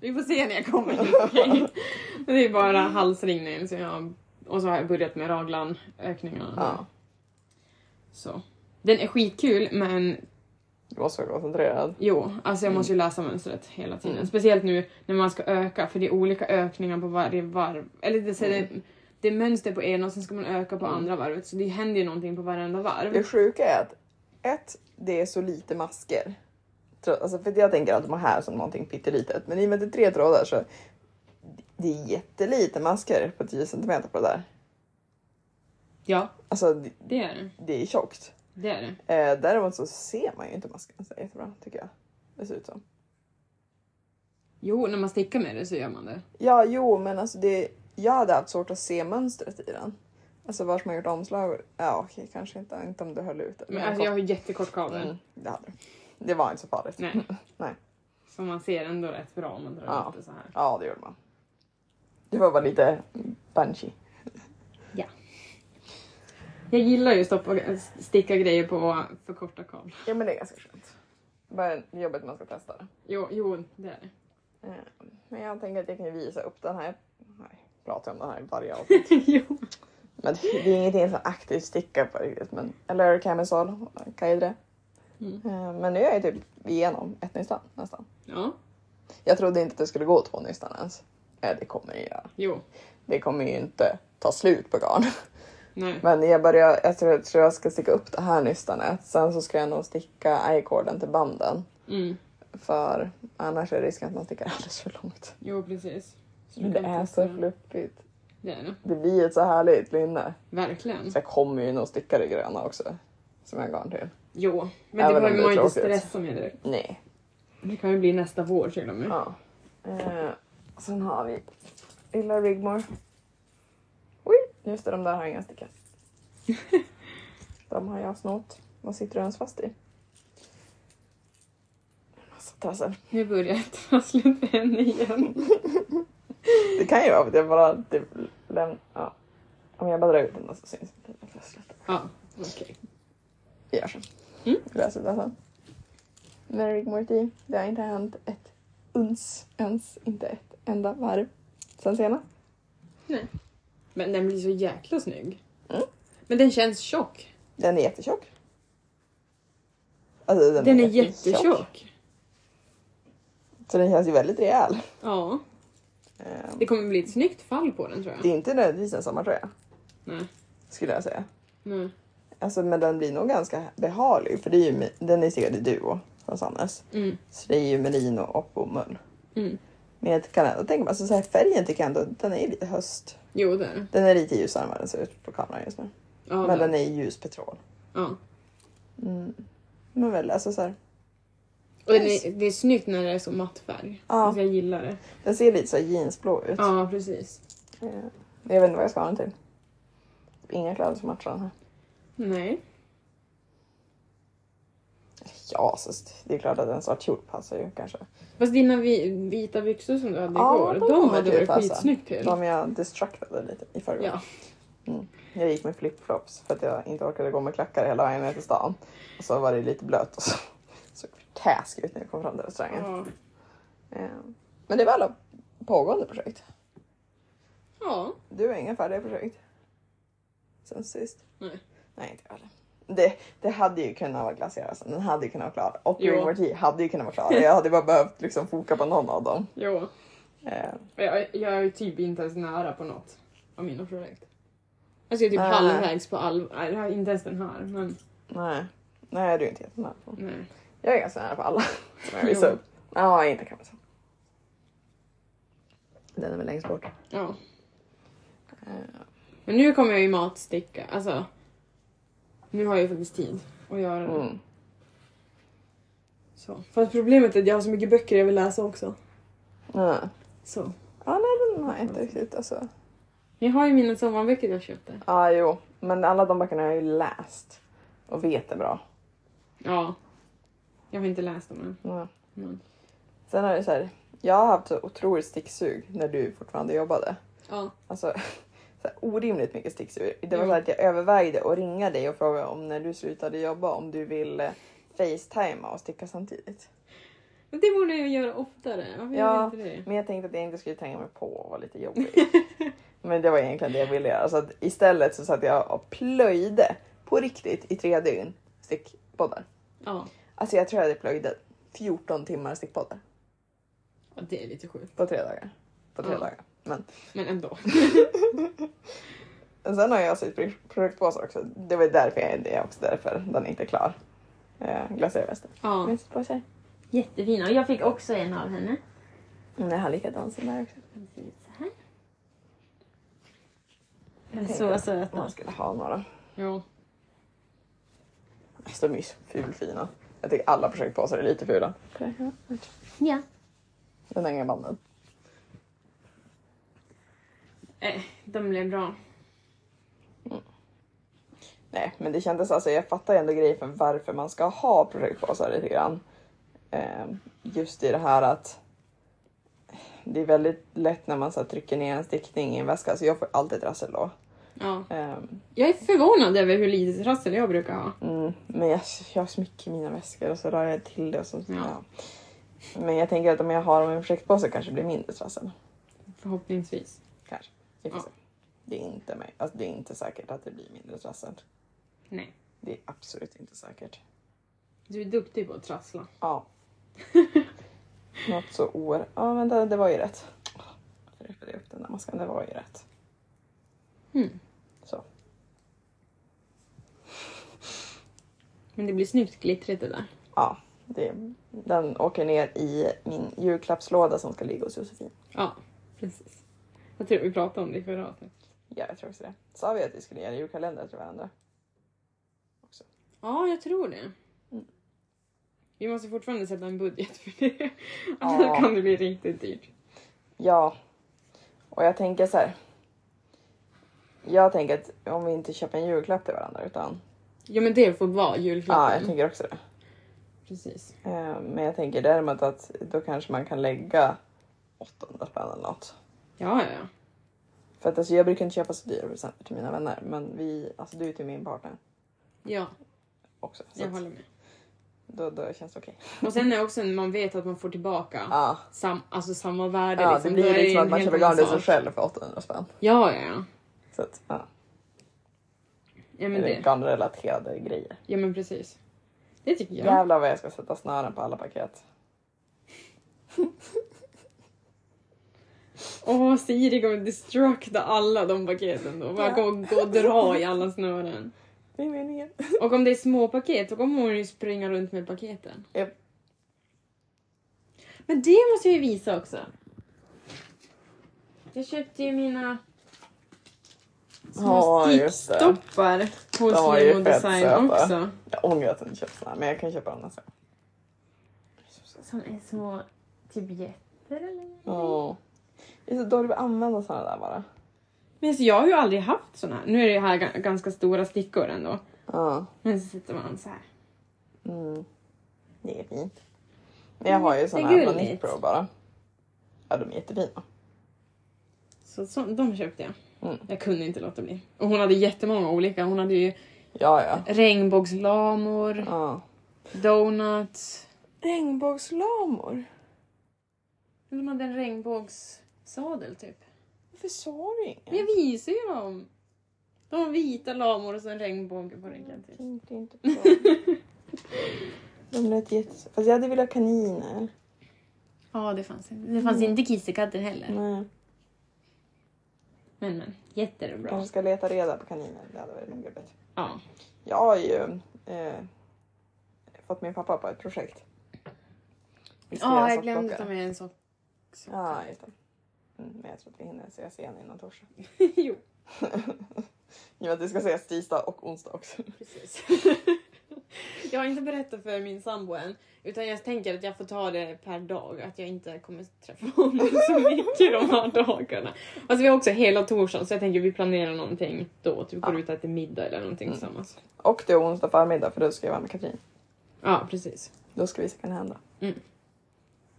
Vi får se när jag kommer dit. okej? Men Det är bara halsringningen så jag, och så har jag börjat med raglanökningarna.
Ja.
Så. Den är skitkul men
Du måste vara koncentrerad.
Jo, alltså jag måste ju läsa mönstret hela tiden.
Mm.
Speciellt nu när man ska öka, för det är olika ökningar på varje varv. Eller det, så är det, det är mönster på ena och sen ska man öka på andra varvet, så det händer ju någonting på varenda varv.
Det sjuka är att ett, det är så lite masker. Tro- Alltså, för jag tänker att de har här som någonting pyttelitet. Men i och med att det är tre trådar så det är jättelite masker på 10 cm på det där.
Ja,
Alltså det,
det är det.
det är tjockt.
Det är det.
Eh, däremot så ser man ju inte masken så jättebra tycker jag. Det ser ut som.
Jo, när man stickar med det så gör man det.
Ja, jo, men alltså det, jag hade haft svårt att se mönstret i den. Alltså vart man gjort omslag. Ja, okej, kanske inte, inte om du höll ut det.
Men alltså jag har ju jättekort kabel,
mm, det hade du. Det var inte så farligt.
Nej.
Nej.
så man ser ändå rätt bra om man drar
Ja.
ut det så här.
Ja, det gjorde man. Det var bara lite bungee.
Jag gillar ju att stoppa, sticka grejer på för korta kablar.
Ja, men det är ganska skönt. Bara jobbet man ska testa det.
Jo, jo, det är det.
Eh, Men jag tänker att jag kan visa upp den här. Nej, jag pratar om den här i varje avsnitt.
jo.
Men det är ingenting som aktivt stickar på riktigt. Men, eller camisol, kajdre.
Mm.
Eh, Men nu är jag typ igenom ett nystan nästan.
Ja,
Jag trodde inte att det skulle gå två nystan ens. Eh, Det kommer ju göra.
jo.
Det kommer ju inte ta slut på garn.
Nej.
Men jag, börjar, jag tror, jag tror jag ska sticka upp det här nystanet. Sen så ska jag nog sticka eye-corden till banden.
Mm.
För annars är risken att man stickar alldeles för långt.
Jo, precis. Så du
Det
kan
är
testa
så
det.
fluffigt.
Det är det.
Det blir ett så härligt linne.
Verkligen.
Så jag kommer ju nog sticka det gröna också. Som jag har garn till.
Jo, men
Även
det
om
behöver
det är
man ju inte
tråkigt.
stressa med direkt.
Nej.
Det kan ju bli nästa vår till och med.
Ja. Eh, sen har vi Illa Rigmore. Oj! Just det, de där har jag inga stickat. de har jag snott. Vad sitter du ens fast i? En Massa trassel.
Nu börjar jag trassla för henne igen.
Det kan ju vara för att jag bara typ lämnar... Ja. Om jag bara drar ut den där så syns inte det trasslet.
Ja, okej.
Vi gör så.
Mm.
Vi läser det sen. Men Rick Morty, det har inte hänt ett uns ens, inte ett enda varv sen senast.
Men den blir så jäkla snygg.
Mm.
Men den känns tjock.
Den är jättetjock. Alltså,
Den, är jättetjock.
Så den känns ju väldigt rejäl.
Ja,
Ehm,
det kommer bli ett snyggt fall på den tror
Det
jag.
är inte nödvändigtvis en sommartröja,
Nej,
skulle jag säga.
nej.
Alltså, men den blir nog ganska behaglig, för det är ju, me- den är säkert i duo från Sannes.
Mm.
Så det är ju merino och bomull.
Mm.
Men jag kan ändå tänka mig, alltså, så här, färgen tycker jag ändå, den är lite höst.
Jo, det är det.
Den är lite ljusare än vad den ser ut på kameran just nu.
Ja,
men
det.
den är ju ljus petrol.
ja.
Mm. Men väl, alltså så här,
Och den är, det är snyggt när det är så matt färg.
Ja.
Alltså, jag gillar det.
den ser lite så här jeansblå ut.
Ja, precis.
Eh, Jag vet inte vad jag ska ha den till. Inga kläder som matchar den här.
Nej.
Ja, så st- det är klart att en svart kjol passar ju kanske.
Fast dina vi, vita byxor som du hade
Ja,
igår,
de
de,
kommer
hade
typ
varit
passa.
skitsnyggt till.
De jag destructade lite i förrgår.
Ja.
Jag gick med flipflops för att jag inte orkade gå med klackar hela vägen ner till stan. Och så var det lite blött och så såg task ut när jag kom fram till restaurangen.
Ja.
Eh, Men det var alla pågående projekt.
ja.
Du har inga färdiga projekt? Sen sist?
Nej.
Nej, inte jag heller. det, det hade ju kunnat vara glaciärsen, den hade ju kunnat vara klar. Och
Jo.
Green Tea hade ju kunnat vara klar. Jag hade bara behövt liksom foka på någon av dem.
Jo.
Eh,
Jag, jag är typ inte ens nära på något av mina projekt. Alltså jag är typ
Nej.
halvvägs på all... Nej, jag har inte ens den här. Men
nej, nej du är inte jättenära på.
nej.
Jag är ganska nära på alla som jag visar
Jo.
upp. Ja, inte kan man säga. Den är väl längst bort.
Ja.
Eh,
Men nu kommer jag ju matsticka. Alltså. Nu har jag ju faktiskt tid att göra det.
Mm.
Så. Fast problemet är att jag har så mycket böcker jag vill läsa också.
Ja.
Så.
ja, nej den har jag inte riktigt alltså.
Jag har ju mina sommarböcker jag köpte.
Ja, jo, men alla de böckerna har jag ju läst och vet är bra.
Ja. Jag har inte läst dem än.
Ja.
Men.
Sen är det så här, jag har haft så otroligt sticksug när du fortfarande jobbade.
Ja.
Alltså så här, orimligt mycket sticksug. Det var
Mm.
så här att jag övervägde att ringa dig och eh, fråga om när du slutade jobba om du ville facetima och sticka samtidigt.
Men det borde jag göra oftare. Varför
Ja.
gör jag inte det?
Men jag tänkte att jag inte skulle tränga mig på och vara lite jobbig. Men det var egentligen det jag ville göra. Så att istället så satt jag och plöjde på riktigt i tre dygn stickpoddar.
Ja.
Alltså jag tror jag hade plöjde 14 timmar stickpoddar
ja, det är lite sjukt.
på tre dagar. På tre
Ja.
dagar. Men
Men ändå.
men sen har jag sytt pro- produktpåsar också. Det var därför jag, det är också därför den inte är klar. Eh, Glaciärvästen.
Ja.
Men syttpåsar.
Jättefina. Och jag fick också en av henne.
Mm, jag har likadan som där också.
Den ser ut så här. Den är så
Om
söta.
man skulle ha några.
Ja.
Alltså de är ju så fulfina. Jag tycker alla projektpåsar är lite fula.
Ja.
Den hänger i banden.
Eh, de blev bra.
Nej, men det kändes alltså, jag fattar ju ändå grejen för varför man ska ha projektpåsar lite grann. Ehm, just i det här att det är väldigt lätt när man så här, trycker ner en stickning i en väska, så jag får alltid trassel då.
Ja.
Ehm,
Jag är förvånad över hur litet trassel jag brukar ha.
mm, men jag, jag smycker mina väskor och så rör jag till det och så.
Ja.
Ja. Men jag tänker att om jag har dem i en projektpåse kanske det blir mindre trassel.
Förhoppningsvis.
Kanske. Vi får
Ja.
se. Det är inte mig. Alltså, det är inte säkert att det blir mindre trassel.
Nej.
Det är absolut inte säkert.
Du är duktig på att trassla.
Ja. Något så oer... Ja, men det, det var ju rätt. Jag repade upp den där maskan. Det var ju rätt.
Mm.
Så.
Men det blir snyggt glittrigt det där.
Ja, det, den åker ner i min julklappslåda som ska ligga hos Josefin.
Ja, precis. Jag tror vi pratade om det i förra avsnittet.
Ja, jag tror också det. Sa vi att vi skulle göra julkalendrar till varandra?
Ja, jag tror det.
Mm.
Vi måste fortfarande sätta en budget för det.
Ja.
Annars kan det bli riktigt dyrt.
Ja. Och jag tänker så här. Jag tänker att om vi inte köper en julklapp till varandra utan...
Ja, men det får vara
Ja, jag
julklappen.
tänker också det.
precis.
Eh, Men jag tänker däremot att då kanske man kan lägga 800 spänn eller något.
Ja, ja, ja.
För att alltså, jag brukar inte köpa så dyra presenter till mina vänner. Men vi, alltså du är till min partner
Ja,
också. Så
jag
att
håller med.
då, då känns det okej.
Och sen är också när man vet att man får tillbaka
Ja,
sam, alltså samma värde.
ja,
liksom.
det
Då
blir
är
ju liksom
en
att man
helt
köper
annan
garnlösa
sak.
själv för 800 spänn.
Ja, ja, ja.
Så att, ja.
Ja men,
Eller
det.
garnrelaterade grejer.
ja, men precis. Det tycker jag.
Jävlar vad jag ska sätta snören på alla paket.
Åh, Siri kommer destructa alla de paketen då. Bara
Ja.
gå, gå och dra i alla snören.
Det är meningen.
Och om det är små paket, då kommer hon ju springa runt med paketen.
Japp.
Men det måste jag ju visa också. Jag köpte ju mina små
Ja, just det.
stickstoppar
De
hos
var ju
Lemo
fett
Design
söta.
också.
Jag ångrar att jag inte köpt såna här men jag kan köpa dem nästa gång.
Som är små typ jätter eller?
Ja. Det är så dåligt att använda såna där bara.
Men alltså, jag har ju aldrig haft såna här. Nu är det ju här ga- ganska stora stickor ändå.
Ja.
Men så sätter man så här.
Mm. Det är fint. Men jag har
Mm,
ju såna här från
Jättegulligt.
Nitpro bara. Ja, de är jättefina.
Så, så de köpte jag.
Mm.
Jag kunde inte låta bli. Och hon hade jättemånga olika. Hon hade ju
Ja, ja.
regnbågslamor,
ja.
donuts.
Regnbågslamor?
Hon hade en regnbågssadel typ.
Varför sa du inget?
Men jag visar ju dem. De har vita lamor och så en regnbåge på ryggen. Typ.
tänkte inte på dem. De lät jättes... Fast jag hade velat ha kaniner.
Ja, det fanns inte. Det fanns inte kissekatter heller.
Nej.
Mm. Men men, jätter är bra.
Kanske ska leta reda på kaniner. Det hade varit nog bättre.
Ja.
Jag har ju eh, fått min pappa på ett projekt. Vi ska
Ja,
göra
jag glömde ta
sockdockor.
med en sock. sock.
Ja, just det. Mm, men jag tror att vi hinner ses igen innan torsdag.
jo,
Ja, det ska ses tisdag och onsdag också.
precis. jag har inte berättat för min sambo än. Utan jag tänker att jag får ta det per dag. Att jag inte kommer träffa honom så mycket de här dagarna. Alltså vi har också hela torsdagen så jag tänker vi planerar någonting då. Typ går
Ja.
ut och äter middag eller någonting
Mm.
tillsammans.
Och det är onsdag förmiddag för då ska jag vara med Katrin.
Ja, precis.
Då ska vi se kan hända.
Mm.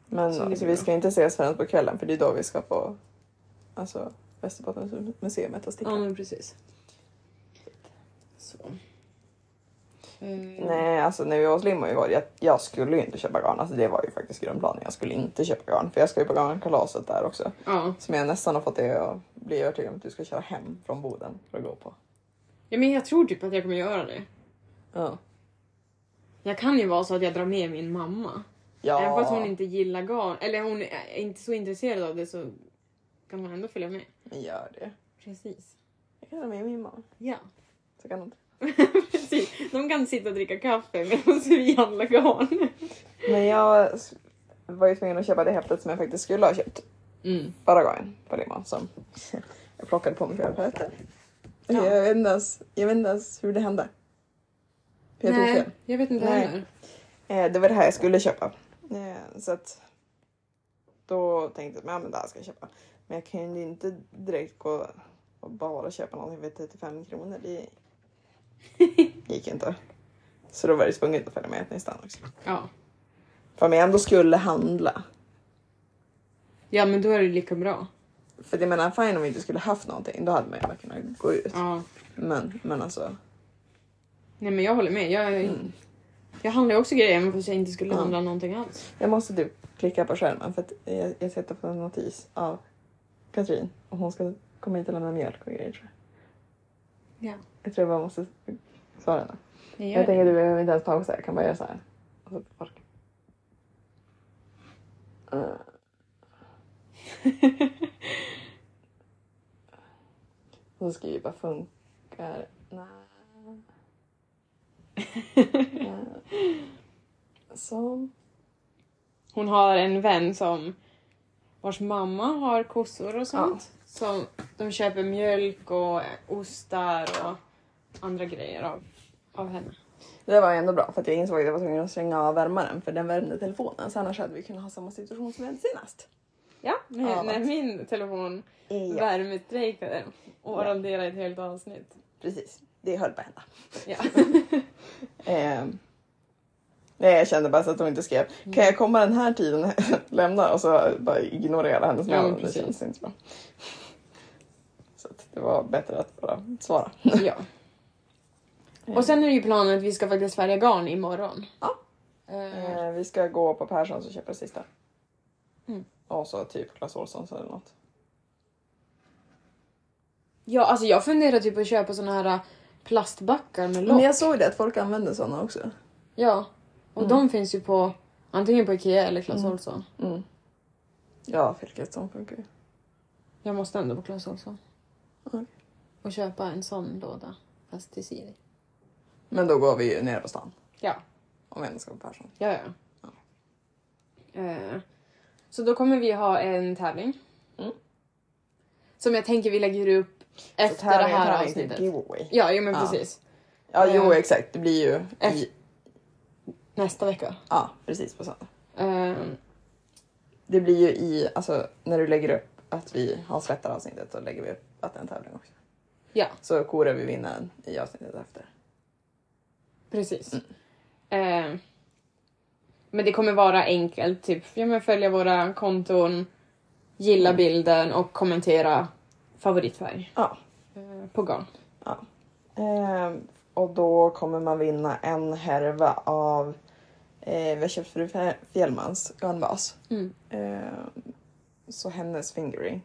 Men
Så
så
det blir
vi
bra.
ska inte ses förrän på kvällen för det är då vi ska på alltså, Västerbottensmuseet och sticka.
Ja, men precis. Så. Eh,
Nej, alltså när vi var hos Lim igår, jag, jag skulle ju inte köpa garn. Alltså det var ju faktiskt grundplanen. Jag skulle inte köpa garn för jag ska ju på garnkalaset där också.
Ja.
Som jag nästan har fått dig att bli övertygad om att du ska köra hem från Boden för att gå på.
ja, men jag tror typ att jag kommer göra det.
Ja.
Jag kan ju vara så att jag drar med min mamma.
Ja.
Även fast hon inte gillar garn, eller hon är inte så intresserad av det så kan hon ändå följa med.
Men gör det.
Precis.
Jag kan ha med min mamma.
Ja.
Så kan hon...
Precis. De kan sitta och dricka kaffe medan vi handlar garn.
Men jag s- var ju tvungen att köpa det häftet som jag faktiskt skulle ha köpt
Mm.
förra gången på Limman som jag plockade på mig förra paletten.
Ja.
Jag, vet inte ens, jag vet inte ens hur det hände. För Jag tog fel.
jag vet inte
Nej.
heller.
Eh, det var det här jag skulle köpa. Eh, så att då tänkte jag att ja, men det här ska jag köpa. Men jag kan ju inte direkt gå och bara köpa någonting för 35 kronor. Det gick ju inte. Så då var det tvunget att följa med till stan också.
Ja.
För om jag ändå skulle handla.
ja, men då är det lika bra.
För jag menar fine om vi inte skulle haft någonting då hade man ju bara kunnat gå ut.
Ja.
Men, men alltså.
Nej, men jag håller med. Jag,
Mm.
jag handlar ju också grejer även fast jag inte skulle
Ja.
handla någonting alls.
Jag måste typ klicka på skärmen för att jag, jag sitter på en notis av Katrin och hon ska komma hit och lämna mjölk och grejer tror jag.
Ja.
Jag tror jag bara måste svara henne.
Jag, gör
Jag tänker
det.
att du behöver inte ens pausa, jag kan bara göra så här. Alltså, Och så park. Eh. Och så skriver jag bara funkar. Nej. Eh. Som.
Hon har en vän som vars mamma har kossor och sånt. Som de köper mjölk och ostar och andra grejer av, av henne.
Det var ju ändå bra för att jag insåg att jag var tvungen att stänga av värmaren för den värmde telefonen. Så annars hade vi kunnat ha samma situation som vi hade senast.
Ja, men,
Ja,
när
vad-
min telefon
Ja,
värmestrejkade och
Ja.
raderade ett helt avsnitt.
precis. Det höll på att hända.
Ja.
Eh, nej, jag kände bara så att hon inte skrev. Kan jag komma den här tiden? Lämna och så bara ignorera hennes
Ja, men
namn. det
precis.
känns inte bra. Så att det var bättre att bara svara.
ja. Och sen är det ju planen att vi ska faktiskt färga garn imorgon.
Ja.
Eh,
Eh, vi ska gå på Perssons och köpa det sista.
Mm.
Och så typ Clas Ohlsons eller något.
Ja, alltså jag funderar typ på att köpa såna här äh, plastbackar med lock.
Men jag såg det att folk använder sådana också.
Ja. Och de finns ju på antingen på Ikea eller Clas
Mm.
Ohlson.
Mm. Ja, vilket som funkar ju.
Jag måste ändå på Clas Ohlson.
Okej.
Och köpa en sån låda. Fast till Siri.
Men då går vi ju ner på stan.
Ja.
Om vi ändå ska på Persson.
Ja, ja. Eh, så då kommer vi ha en tävling.
Mm.
Som jag tänker vi lägger upp efter det här avsnittet.
Giveaway.
Ja, jo, men
Ja.
precis.
Ja, jo
Eh,
exakt. Det blir ju...
Efter-
I,
Nästa vecka.
ja, precis på söndag.
Eh,
Det blir ju i, alltså när du lägger upp att vi har släppt det här avsnittet så lägger vi upp att det är en tävling också.
Ja.
Så korar vi vinnaren i avsnittet efter.
precis.
Mm.
Eh, men det kommer vara enkelt. Typ ja, men följa våra konton, gilla
Mm.
bilden och kommentera favoritfärg
Ja.
eh, på garn.
Ehm, och då kommer man vinna en härva av eh, vi har köpt fru Fjä- Fjällmans garnbas.
Mm.
Ehm, så hennes fingering.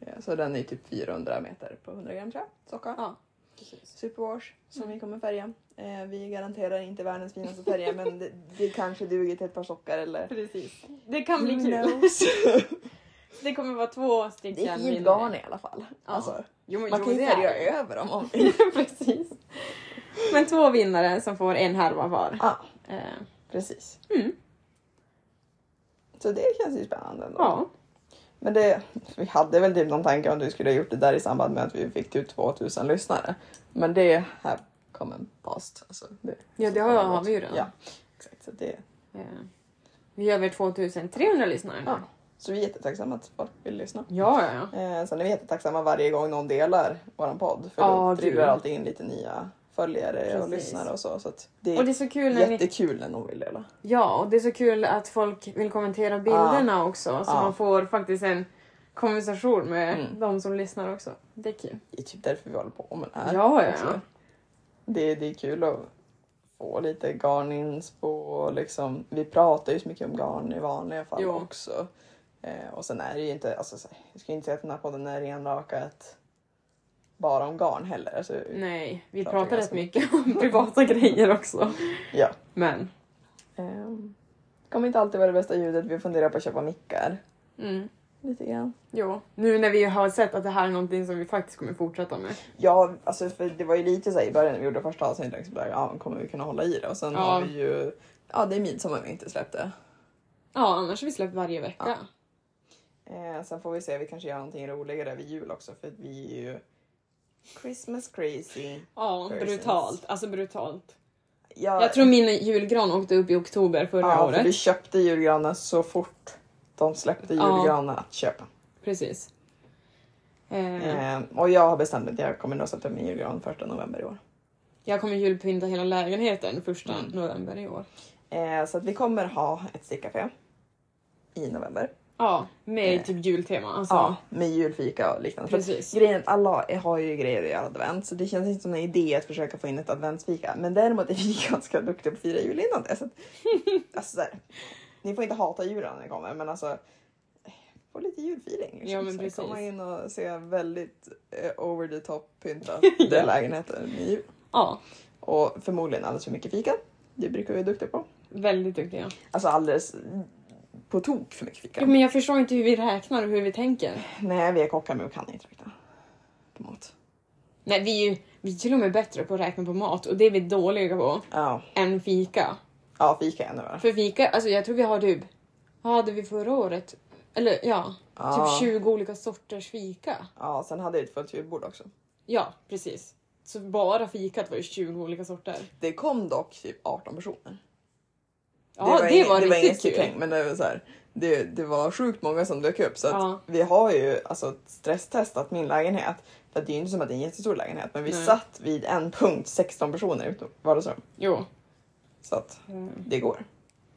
Eh, så den är typ 400 meter på 100 gram tror jag. Socka.
Ja, precis. Mm.
Superwash som vi kommer färga. Eh, vi garanterar inte världens finaste färger men det, det kanske duger till ett par sockar eller...
precis. Det kan bli
Who
kul.
knows?
Det kommer vara två stycken
Det är fint
vinnare.
garn i alla fall.
Ja.
Alltså,
Jo, men
man
jo,
kan ju
det är
färga
det.
över dem om
Precis. Men två vinnare som får en härva var.
Ja,
Eh,
precis.
Mm.
Så det känns ju spännande ändå.
ja.
Men det, vi hade väl typ någon tanke om du skulle ha gjort det där i samband med att vi fick typ 2000 lyssnare. Men det här kommer en past. Alltså, det,
ja, det har, har vi ju redan.
Ja, exakt. Så, det,
Eh, vi har över 2300 lyssnare nu.
Ja. så vi är jättetacksamma att folk vill lyssna.
Ja, ja, ja.
Eh, sen är vi jättetacksamma varje gång någon delar vår podd. För
Ja,
då trillar
gud.
alltid in lite nya följare och
Precis.
lyssnare och så. så att det är
Och det är så kul när ni...
jättekul när någon vill dela.
Ja, och det är så kul att folk vill kommentera bilderna också. Så
Ja.
man får faktiskt en konversation med
Mm.
de som lyssnar också. Det är kul.
Det är typ därför vi håller på med det här.
Ja, ja,
också.
ja.
Det, det är kul att och lite garninspo och liksom, vi pratar ju så mycket om garn i vanliga fall
Jo.
också. Eh, och sen är det ju inte, alltså, så- jag skulle inte säga att den här podden är renrakat bara om garn heller. Alltså,
Nej, vi
Pratar
pratar rätt
ganska
mycket om privata grejer också.
Ja.
Men,
Ehm, det kommer inte alltid vara det bästa ljudet, vi funderar på att köpa mickar.
mm,
Lite grann.
jo. Nu när vi har sett att det här är någonting som vi faktiskt kommer fortsätta med.
Ja, alltså för det var ju lite så här, i början när vi gjorde första avsnittet, liksom, bara, ja, kommer vi kunna hålla i det? Och sen
Ja.
har vi ju, ja det är midsommar vi inte släppte.
Ja, annars har vi släppt varje vecka.
Ja. Eh, sen får vi se, vi kanske gör någonting roligare vid jul också för att vi är ju Christmas crazy.
Ja,
Versions.
brutalt. Alltså brutalt.
Ja,
Jag tror min julgran åkte upp i oktober förra
ja, för
året.
vi köpte julgranar så fort de släppte
Ja.
julgranar att köpa.
Precis. Eh,
Eh, och jag har bestämt att jag kommer nog sätta upp min julgran 1 november i år.
Jag kommer julpynta hela lägenheten första
Mm.
november i år.
Eh, så att vi kommer ha ett stickcafé i november.
Ja, med
Eh.
typ jultema. Alltså,
Ja, med julfika och liknande. För att
Precis.
Grejen, alla har ju grejer att göra advent så det känns inte som en idé att försöka få in ett adventsfika. Men däremot är vi ganska duktiga på att fira jul innan det. Så att, alltså, så här, ni får inte hata julen när ni kommer men alltså få lite julfeeling. Liksom.
Ja, men
Så här,
precis.
komma in och se väldigt eh, over the top pyntat
Ja.
den lägenheten med jul.
ja,
Och förmodligen alldeles för mycket fika. Det brukar vi vara duktiga på.
väldigt duktiga.
Alltså alldeles på tok för mycket fika.
Jo, Men jag förstår inte hur vi räknar och hur vi tänker.
Nej, vi är kockar men vi kan inte räkna på mat.
Nej, vi är ju vi är till och med bättre på att räkna på mat och det är vi dåliga på
Ja,
än fika.
ja fika är ännu värre.
För fika, alltså jag tror vi har typ, vad hade vi förra året? Eller ja,
Ja.
typ 20 olika sorters fika.
Ja, sen hade jag ett fullt julbord också.
Ja, precis. Så bara fikat var ju 20 olika sorter.
Det kom dock typ 18 personer.
Ja, det var,
ingen-
riktigt
ingen
kul.
kutäng, men det var, så här, det, det var sjukt många som dök upp. Så att
Ja.
vi har ju alltså, stresstestat min lägenhet. För att det är ju inte som att det är en jättestor lägenhet, men vi
Nej.
satt vid en punkt 16 personer i ett vardagsrum.
Jo.
Så att det går.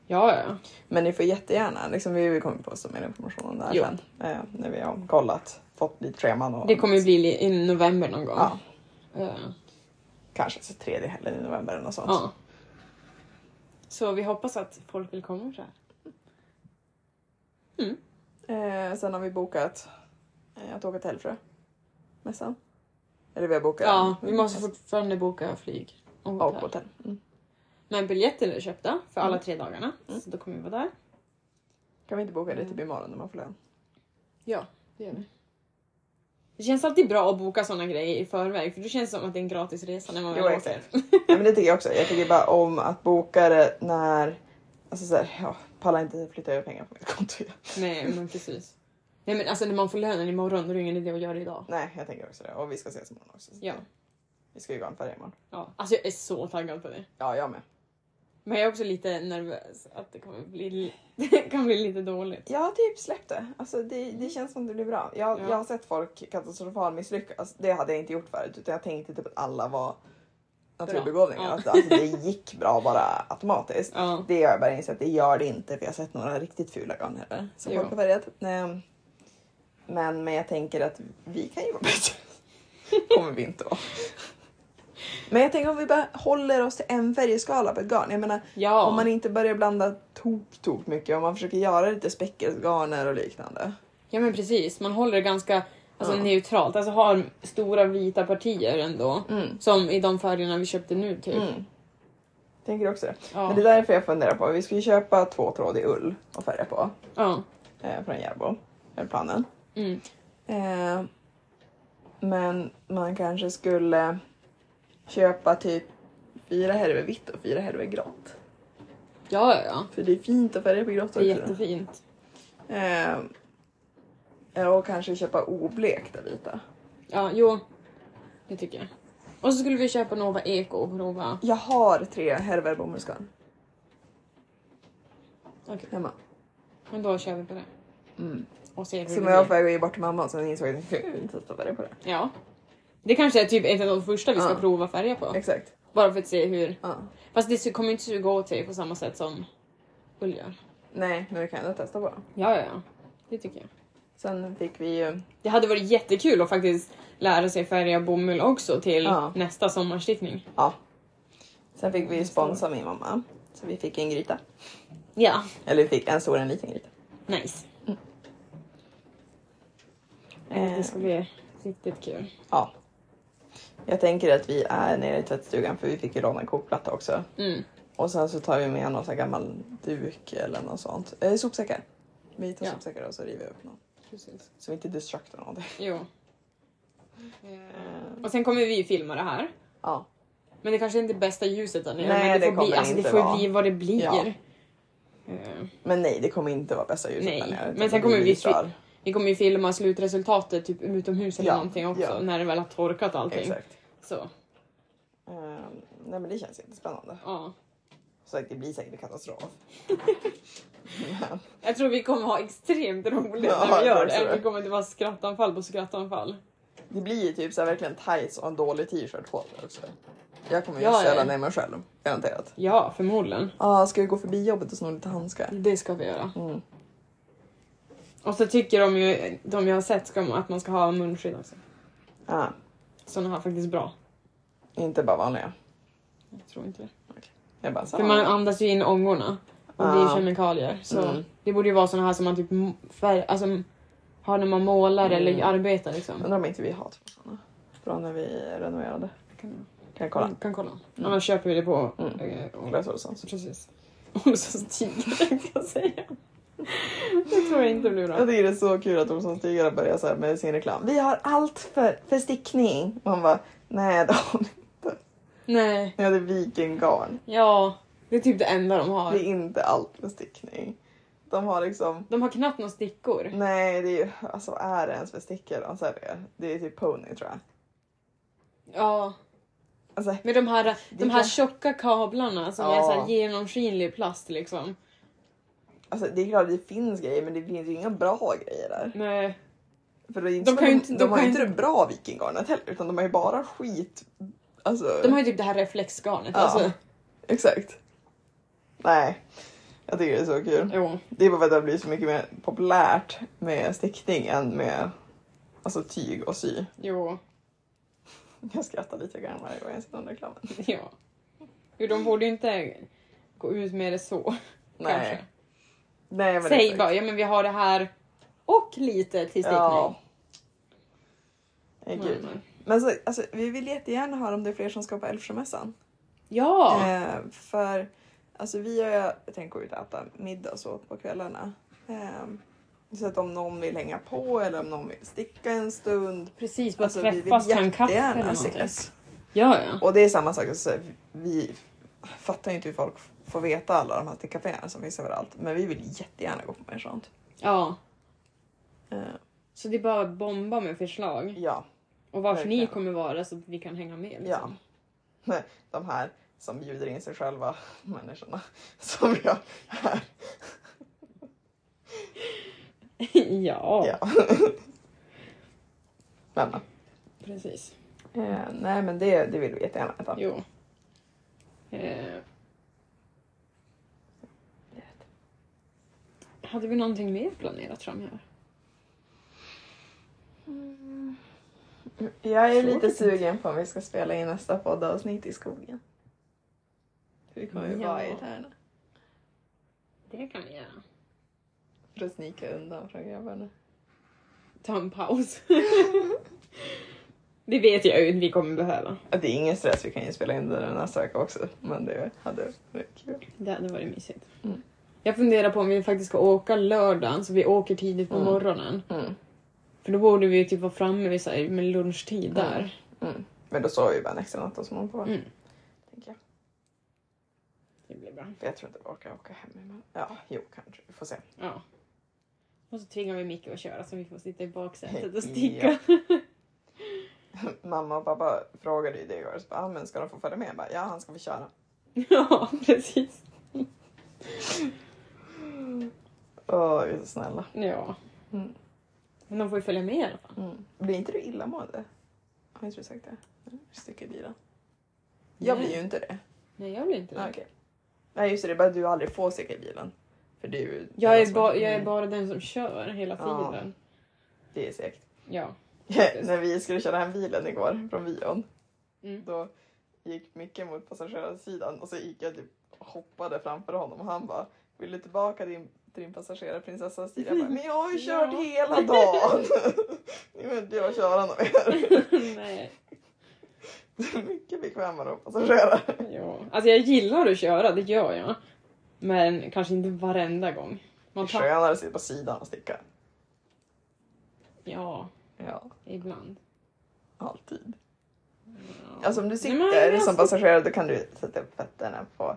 Ja, ja, ja.
Men ni får jättegärna, liksom, vi kommer posta mer information om det här
Jo.
sen. Eh, när vi har kollat, fått lite scheman och
Det kommer ju bli li- i november någon gång.
ja,
Eh,
kanske så tredje helgen i november eller något sånt.
ja. Så vi hoppas att folk vill komma så här.
Eh, sen har vi bokat eh, att åka till Hällefrö. Mässan. Eller vi har bokat
Ja, vi måste fortfarande boka flyg och
och
hotell.
hotell. Mm.
Men biljetterna är köpta för alla
Mm.
tre dagarna. Så då kommer vi vara där.
Kan vi inte boka det typ imorgon när man får lön?
Mm. Ja, det gör vi. Det känns alltid bra att boka sådana grejer i förväg för det känns som att det är en gratis resa när man
Jo,
väl åker.
exakt. ja, men det tycker jag också. Jag tycker bara om att boka det när... Alltså såhär, ja, pallar inte flytta över pengar på mitt konto.
Nej, men precis. Nej men alltså när man får lönen imorgon då är det ingen idé att göra det idag.
Nej, jag tänker också det. Och vi ska ses imorgon också. Så
Ja.
Vi ska ju gå en färja imorgon.
ja. Alltså jag är så taggad på det.
Ja, jag med.
Men jag är också lite nervös att det kommer bli, det kan bli lite dåligt.
Jag har typ släppt det. Alltså det, det känns som det blir bra. Jag,
Mm. Ja.
jag har sett folk katastrofalt misslyckas. Det hade jag inte gjort förut utan jag tänkte typ att alla var naturbegåvningar.
Ja.
Alltså, alltså det gick bra bara automatiskt.
Ja.
Det har jag bara insett, det gör det inte för jag har sett några riktigt fula garn heller. Som
Jo.
folk har färgat. Ehm, Men, men jag tänker att vi kan ju vara bättre. kommer vi inte vara. Men jag tänker om vi bara håller oss till en färgskala på ett garn. Jag menar,
Ja.
om man inte börjar blanda tok, tok mycket, om man försöker göra lite speckelsgarner och liknande.
ja men precis, man håller det ganska alltså,
Ja.
neutralt. Alltså har stora vita partier ändå.
Mm.
Som i de färgerna vi köpte nu typ.
Mm. Tänker också det.
Ja.
Men det är därför jag funderar på, vi ska ju köpa tvåtrådig ull och färga på
ja.
eh, från Järbo. Är planen.
Mm.
Eh, men man kanske skulle köpa typ fyra härvor vitt och fyra härvor grått.
ja, ja, ja.
För det är fint att färga på grått
Det är
också.
jättefint.
Eh, ja, Eh, och kanske köpa oblekta vita.
Ja, jo. Det tycker jag. Och så skulle vi köpa Nova Eko och prova.
Jag har tre härvor bomullsgarn
Okej,
hemma.
men då kör vi på det.
Mm.
Och ser hur
Som
det
jag var på
blir.
väg att ge bort till mamma och sen insåg jag att jag inte testa färga på det.
Ja. Det kanske är typ ett av de första vi ska
Ja.
prova färga på.
Exakt.
Bara för att se hur.
Ja.
Fast det kommer ju inte suga åt sig på samma sätt som ull gör.
Nej, men vi kan ändå testa på det.
Ja, ja, ja. Det tycker jag.
Sen fick vi ju...
Det hade varit jättekul att faktiskt lära sig färga bomull också till
Ja.
nästa sommarstickning.
Ja. Sen fick vi sponsra min mamma. Så vi fick en gryta.
Ja,
Eller vi fick en stor och en liten gryta.
nice.
Eh,
Det ska bli riktigt kul.
Ja. Jag tänker att vi är nere i tvättstugan för vi fick ju låna en kokplatta också.
Mm.
Och sen så tar vi med någon sån här gammal duk eller något sånt. Eh, sopsäckar. Vi tar
Ja.
sopsäckar och så river vi upp någon.
Precis.
Så vi inte destruktar någonting.
Jo. Eh, Och sen kommer vi ju filma det här.
Ja.
Men det kanske inte är bästa ljuset ännu.
Nej,
men
det
får bli,
kommer
alltså,
inte
Det får ju
vara.
bli vad det blir.
Ja.
Eh,
Men nej, det kommer inte vara bästa ljuset
Nej,
där nere,
men
utan
sen
det
kommer vi
bidrar.
fi- Vi kommer ju filma slutresultatet typ utomhus eller
Ja,
någonting också.
ja.
När det väl har torkat allting.
Exakt.
Så,
Eh, nej men det känns jättespännande.
ja.
Så det blir säkert en katastrof. men,
Jag tror vi kommer ha extremt roligt
Ja,
när vi
jag
gör
tror
det.
det.
Det kommer inte vara skrattanfall på skrattanfall.
det blir ju typ så här verkligen tights och en dålig t-shirt på mig också. Jag kommer ju
Ja, ja,
söla
ja.
ner mig själv. Garanterat.
Ja, förmodligen.
Ja, ska vi gå förbi jobbet och sno lite handskar?
Det ska vi göra.
Mm.
Och så tycker de ju, de jag har sett, ska, att man ska ha munskydd också.
Ah,
Sådana här faktiskt bra.
inte bara vanliga.
Jag tror inte det.
Jag bara, så
För man andas ju in ångorna. Och det är ju
Ja.
kemikalier. Så
Mm.
det borde ju vara såna här som man typ m- färg, alltså, har när man målar
Mm.
eller arbetar liksom.
Undrar om inte vi har två sådana. Bra när vi renoverade.
Kan,
Kan jag kolla?
kan kolla.
Mm.
Annars köper vi det på...
Mm.
eh, och-
Clas Ohlsons.
Precis. Olssons tiger tänkte jag säga. Det tror jag inte blir bra.
Jag tycker det är så kul att Olssons Tigrar börjar så här med sin reklam. Vi har allt för, för stickning. Och man bara, nej det har ni inte.
Nej.
Ni hade vikingarn.
Ja, det är typ det enda de
Det är
har.
inte allt för stickning. De har liksom,
De har knappt några stickor.
nej det är ju, alltså vad är det ens för stickor de säljer? Det är typ pony tror jag.
Ja,
Alltså,
med de här, de här
kan-
tjocka kablarna som
Ja.
är så här genomskinlig plast liksom.
alltså det är klart det finns grejer men det finns ju inga bra grejer där.
Nej.
För det är inte
De
de,
kan
de,
ju inte-
de,
de
har ju
kan
inte
ju-
det bra vikingarnet heller utan de har ju bara skit. Alltså,
De har ju typ det här reflexgarnet.
Ja.
Alltså,
Exakt. Nej, jag tycker det är så kul.
jo.
Det är bara för att det har blivit så mycket mer populärt med stickning än med alltså, tyg och sy.
Jo.
Jag skrattar lite grann varje gång jag ser den reklamen.
Ja. Jo, de borde ju inte gå ut med det så.
Nej.
kanske.
Nej men
Säg
exakt.
bara, ja men vi har det här och lite till stickning. Mm.
Ja. Nej,
Men-
gud. Men så, alltså, vi vill jättegärna höra om det är fler som ska på Älvsjömässan.
Ja!
Eh, för alltså, vi och jag tänker gå ut och äta middag så på kvällarna. Eh, så att om någon vill hänga på eller om någon vill sticka en stund.
Precis, bara
Alltså, vi vill
träffas, ta en kaffe eller
jättegärna
någonting.
ses.
Ja, ja.
Och det är samma sak, alltså, vi fattar ju inte hur folk får veta alla de här stickcaféerna som finns överallt. Men vi vill jättegärna gå på mer sånt.
ja.
Eh,
Så det är bara att bomba med förslag.
ja,
Och varför ni
Verkligen.
kommer vara så att vi kan hänga med.
ja.
Liksom.
De här som bjuder in sig själva människorna som jag här.
Ja. ja.
Ja. Men,
Precis.
eh, nej men det, det vill vi jättegärna äta.
Jo. Eh. Hade vi någonting mer planerat framöver?
Mm. Jag är
Tror
lite
inte.
sugen på om vi ska spela in nästa poddavsnitt i skogen. Vi kommer ju
Ja.
vara i Tärna.
Det kan vi göra.
För att snika undan från grabbarna.
Ta en paus. det vet jag ju att vi kommer behöva.
Ja, Det är ingen stress, vi kan ju spela in den nästa vecka också. Men det hade varit kul.
Det hade varit mysigt.
Mm.
Jag funderar på om vi faktiskt ska åka lördagen så vi åker tidigt på
Mm.
morgonen.
Mm.
För då borde vi ju typ vara framme vid så här, med lunchtid där.
Mm. Men då sover vi bara en extra natt hos någon på
Mm.
tänker jag.
Det blir bra.
För jag tror inte vi orkar åka hem imorgon. Ja, jo kanske. Vi får se.
Ja. Och så tvingar vi Micke att köra så vi får sitta i baksätet och sticka.
Mamma och pappa frågade ju det igår. Så bara, ah, men ska de få följa med? Jag bara, ja, han ska få köra.
ja, precis.
Åh, vi är så snälla.
Ja.
Mm.
Men de får ju följa med i alla fall.
Mm. Blir inte du illamående? Har inte du sagt det? Sticker i bilen. Jag
Mm, Nej.
blir ju inte det.
Nej, jag blir inte det.
Ah, okej. Nej just det, det är bara att du aldrig får sticka i bilen. För du...
Jag, är ba- jag är bara den som kör hela
Ja.
tiden.
Det är segt.
Ja.
När vi skulle köra hem bilen igår från Vion.
Mm.
Då gick Micke mot passagerarsidan och så gick jag typ och hoppade framför honom och han bara vill du tillbaka din, till din passagerarprinsessans sida? Jag bara, men jag har ju kört
Ja.
hela dagen! Nu vill inte jag köra något mer.
Nej.
Det är mycket bekvämare att passagerare.
Ja. Alltså jag gillar att köra, det gör jag. Men kanske inte varenda gång.
Det är
Man tappar...
skönare att sitta på sidan och sticka.
Ja,
Ja,
ibland.
alltid.
Ja.
Alltså om du
Nej, men
sitter
jag
som
ska-
passagerare då kan du sätta upp fötterna på,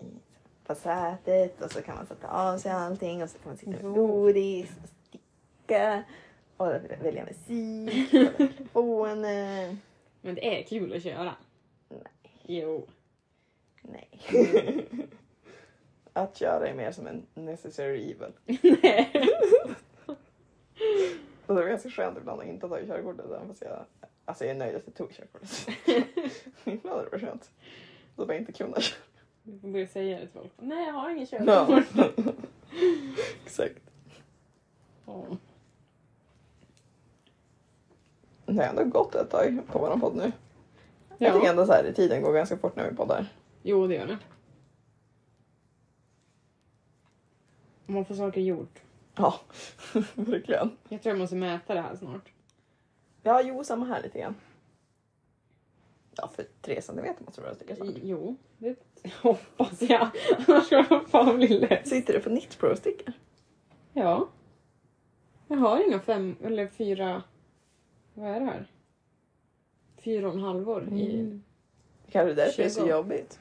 i- på sätet och så kan man sätta av sig allting och så kan man sitta med
Jo.
godis och sticka och välja musik, kolla på telefonen.
Men det är kul att köra. Nej. Jo.
Nej. Att göra är mer som en necessary evil.
Nej.
Och det var ganska skönt ibland att inte ha tagit körkortet även fast jag, alltså jag är nöjd att jag tog körkortet. ibland är det bara skönt. Då var jag inte kunna köra.
Du får börja säga det till folk. Nej, jag har ingen
Ja.
körkort.
Exakt.
Ja.
Det har ändå gått ett tag på vår podd nu. Jag tycker
Ja.
ändå så här, tiden går ganska fort när vi poddar.
Jo, det gör det. Man får saker gjort.
Ja, verkligen.
Jag tror jag måste mäta det här snart.
Ja, jo, samma här lite grann. Ja, för tre centimeter måste det vara stycke snart.
Jo, det hoppas jag. Annars ska jag fan bli less.
Sitter du på Knit pro stickor
Ja. Jag har inga fem eller fyra... Vad är det här? Fyra och en halvor
Mm.
i...
Kanske därför det är så
Tjugo.
jobbigt.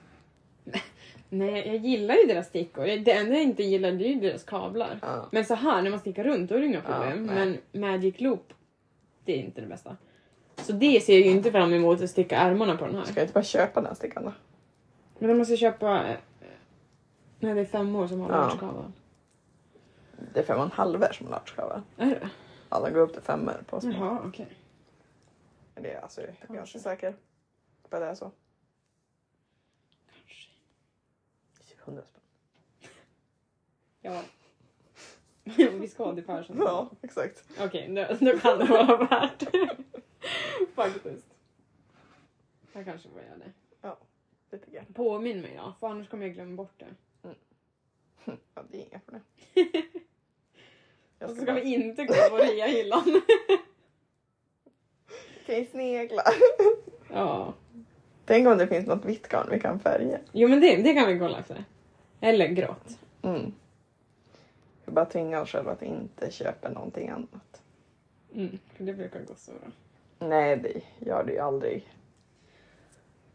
Nej, jag gillar ju deras stickor. Det enda jag inte gillar det är ju deras kablar.
Ja.
Men så här när man stickar runt då är det inga
Ja,
problem.
nej.
men Magic Loop, det är inte det bästa. Så det ser jag ju inte fram emot att sticka ärmarna på den här.
Ska jag inte bara köpa den här stickan då?
Men jag måste köpa... eh, Nej, det är fem år som har
Ja.
large kablar.
Det är fem och en halver som large cover.
Är det?
Alla går upp till femmer på små.
Jaha, okej.
Men det är alltså, jag är ganska säker på att det är så.
Kanske.
Typ 100 spänn.
Ja. Vi ska till Persson.
Ja, exakt.
Okej, nu, nu kan det vara värt Faktiskt. Jag kanske får göra det.
Det tycker jag.
Påminn mig då, för annars kommer jag glömma bort det.
Ja, det är inga problem.
Och
Jag
så
ska,
ska
bara...
vi inte gå på reahyllan.
Kan vi snegla?
ja.
Tänk om det finns något vitt garn vi kan färga.
Jo men det, det kan vi kolla efter. Eller grått.
Mm. Vi bara tvingar oss själva att inte köpa någonting annat.
Mm, för det brukar gå så bra.
Nej, det gör det ju aldrig.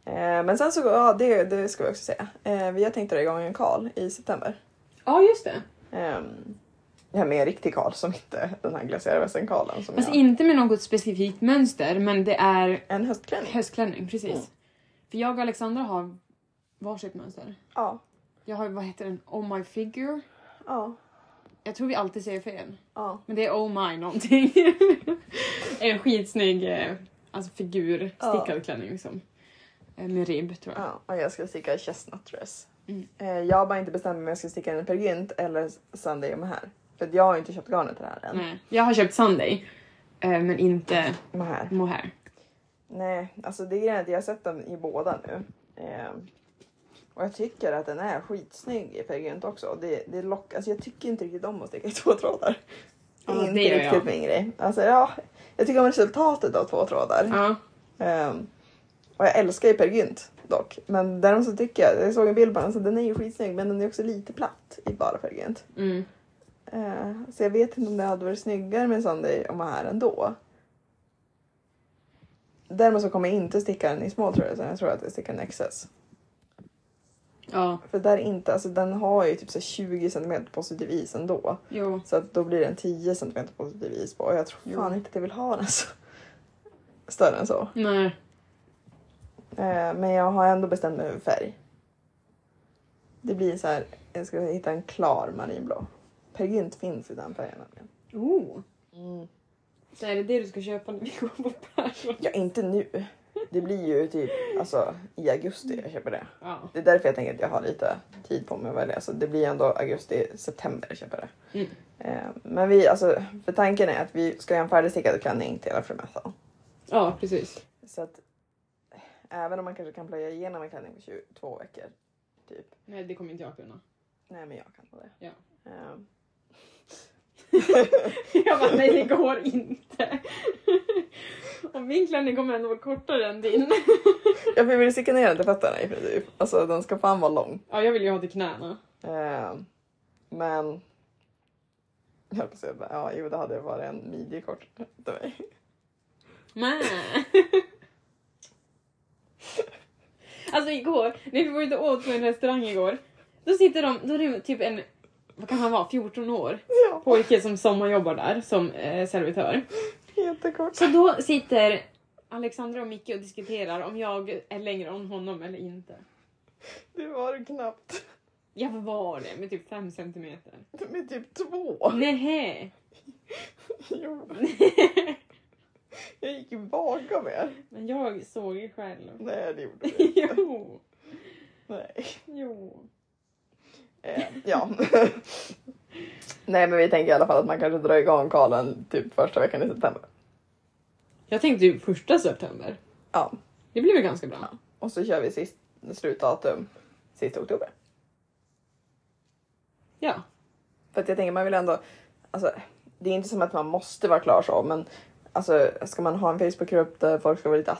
Eh, men sen så, ja det, det ska vi också säga. Eh, vi har tänkt dra igång en call i september.
Ja just det.
Ehm, ja, med en riktig karl som inte den här glaciärvästen-karlen. Som
Alltså
jag...
inte med något specifikt mönster men det är
En höstklänning?
höstklänning, precis.
Mm.
För jag och Alexandra har varsitt mönster.
Ja.
Jag har, vad heter den, Oh My Figure.
ja,
Jag tror vi alltid säger fel.
ja.
Men det är Oh My någonting. en skitsnygg eh, alltså figur,
Ja.
stickad klänning liksom. Eh, Med ribb tror jag.
Ja, och jag ska sticka chestnut dress.
Mm.
Eh, Jag har bara inte bestämt mig om jag ska sticka en pergint eller Sunday med här. För att jag har inte köpt garnet till det här än.
Nej. Jag har köpt Sunday. eh, Men inte
Med här.
mohair.
Nej, alltså det är grejen att jag har sett den i båda nu. Eh, och jag tycker att den är skitsnygg i pergint också. Det, det lock, alltså jag tycker inte riktigt om att sticka i två trådar.
Ja,
inte
det gör
riktigt
jag.
min grej. Alltså, ja, jag tycker om resultatet av två trådar.
Ja.
Ehm, och jag älskar ju Peer Gynt dock. Men däremot så tycker jag, jag såg en bild på den, så den är ju skitsnygg men den är också lite platt i bara Peer Gynt.
Mm.
Eh, så jag vet inte om det hade varit snyggare med en Sunday om man är ändå. Däremot så kommer jag inte sticka den i små tror jag, utan jag tror att jag stickar en XS.
Ja,
För där är inte, alltså den har ju typ så här 20 cm positiv is ändå.
jo.
Så att då blir den 10 cm positiv is på och jag tror fan inte att jag vill ha den så. Större än så.
Nej.
Eh, men jag har ändå bestämt mig för färg. Det blir så här, jag ska hitta en klar marinblå. Pergint finns i den färgen nämligen.
Oh. Så är det det du ska köpa när vi går på Persson?
Ja, inte nu. Det blir ju typ alltså, i augusti jag köper det.
Ja.
Det är därför jag tänker att jag har lite tid på mig att välja. Så det blir ändå augusti, september jag köper det.
Mm.
Eh, men vi, alltså, för tanken är att vi ska göra en färdigstickad klänning till hela frimessan.
Ja, precis.
Så att Även om man kanske kan plöja igenom en klänning på 22 veckor. Typ.
Nej, det kommer inte jag kunna.
Nej men jag kan nog det.
Ja.
Ehm,
Jag bara, nej det går inte. Och min klänning kommer ändå vara kortare än din.
jag vill sticka ner den till fötterna i princip. Alltså den ska fan vara lång.
Ja, jag vill ju ha till knäna.
Ehm, men... Jag höll på att säga, ja jo det hade varit en midjekort till mig.
Nej. Alltså igår, när vi var ute och åt på en restaurang igår, då sitter de, då är det typ en, vad kan han vara, 14 år
Ja,
pojke som sommarjobbar där som eh, servitör.
jättekort.
Så då sitter Alexandra och Micke och diskuterar om jag är längre än honom eller inte.
Det var det knappt.
Jag var det med typ 5 centimeter.
Med typ två.
Nähä!
Jo. Jag gick ju bakom er.
Men jag såg ju själv.
Nej det gjorde vi inte.
jo,
Nej.
jo.
Eh, ja. Nej men vi tänker i alla fall att man kanske drar igång kalen typ första veckan i september.
Jag tänkte ju första september.
Ja.
Det blev ju ganska bra.
Och så kör vi sist, slutdatum sista oktober.
Ja.
För att jag tänker man vill ändå, alltså det är inte som att man måste vara klar så men alltså ska man ha en Facebookgrupp där folk ska vara lite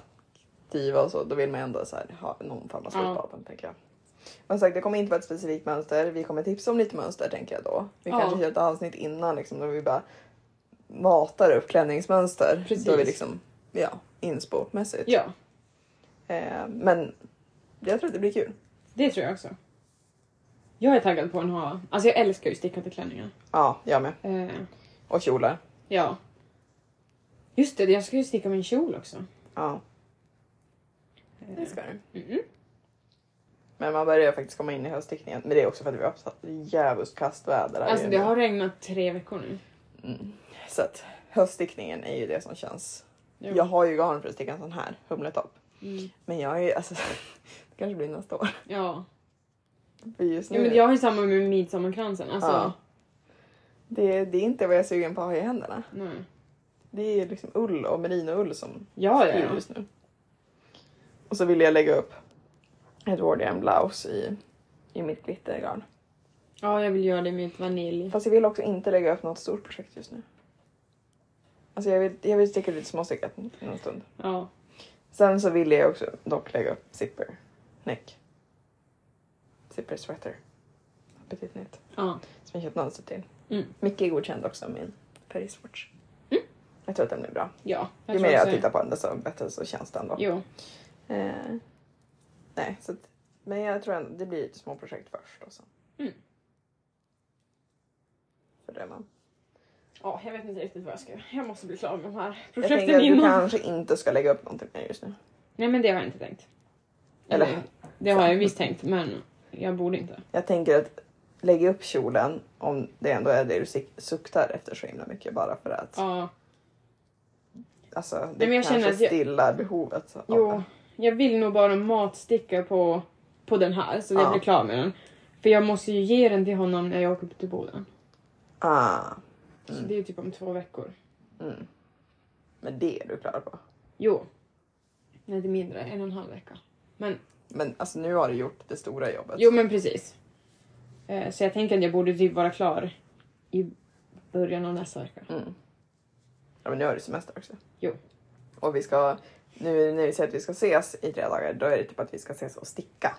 aktiva och så då vill man ändå så här, ha någon form av slutdatum tänker jag. Men som sagt det kommer inte vara ett specifikt mönster, vi kommer tipsa om lite mönster tänker jag då. Vi
Ja.
kanske kör ett avsnitt innan liksom då vi bara matar upp klänningsmönster.
Precis.
Då vi liksom, ja, inspo-mässigt.
Ja,
Eh, men jag tror att det blir kul.
det tror jag också. Jag är taggad på en ha. Alltså jag älskar ju stickade klänningar.
Ja, jag med.
Eh,
Och kjolar.
ja. Just det, jag ska ju sticka min kjol också.
Ja, det
Eh,
ska du.
mm.
Men man börjar faktiskt komma in i höststickningen. Men det är också för att vi har haft djävulskt kasst väder. här
Alltså
ju
det
nu.
har regnat tre veckor nu.
Mm. Så att höststickningen är ju det som känns.
Jo.
Jag har ju garn för att sticka en sån här humletopp.
Mm.
Men jag är ju alltså. det kanske blir nästa år.
Ja.
För just nu.
ja men jag har ju samma med midsommarkransen. Alltså,
Ja. det, det är inte vad jag är sugen på att ha i händerna.
nej.
Det är liksom ull och merinoull som
Ja, ja,
styr
ja.
just nu. Och så vill jag lägga upp ett wardian blouse i, i mitt glittergarn.
ja, jag vill göra det med ett vanilj.
Fast jag vill också inte lägga upp något stort projekt just nu. Alltså jag vill, jag vill sticka lite småstickat någon stund.
Ja.
Sen så vill jag också dock lägga upp zipper neck. Zipper sweater. Appetit nytt.
ja.
Som jag köpt mönster till.
Mm.
Mycket är godkänd också min Paris-watch.
Mm.
Jag tror att den blir bra.
Ja.
Ju mer jag
också-
tittar på den desto bättre så känns den då.
Jo.
Eh, nej, så att, men jag tror ändå det blir lite små projekt först och sen.
Mm.
För det man.
Ja, jag vet inte riktigt vad jag ska göra. Jag måste bli klar med de här
Jag tänker
projekten
att du
innan.
kanske inte ska lägga upp någonting mer just nu.
Nej, men det har jag inte tänkt.
Eller-
Eller, det har jag visst tänkt, men jag borde inte.
Jag tänker att lägga upp kjolen om det ändå är det du sik- suktar efter så himla mycket bara för att
Ja,
alltså, det
men jag
kanske
känner att jag-
stillar behovet. av
jo.
det.
Jag vill nog bara matsticka på, på den här så att
Ja.
jag blir klar med den. För jag måste ju ge den till honom när jag åker till Boden.
Ah,
Så
Mm.
det är typ om två veckor.
mm. Men det är du klar på.
Jo. Nej, det är mindre. En och en halv vecka. Men,
Men alltså, nu har du gjort det stora jobbet.
jo men precis. Eh, Så jag tänker att jag borde typ vara klar i början av nästa vecka.
Mm. Ja, men nu har du semester också.
Jo.
Och vi ska, nu när vi säger att vi ska ses i tre dagar, då är det typ att vi ska ses och sticka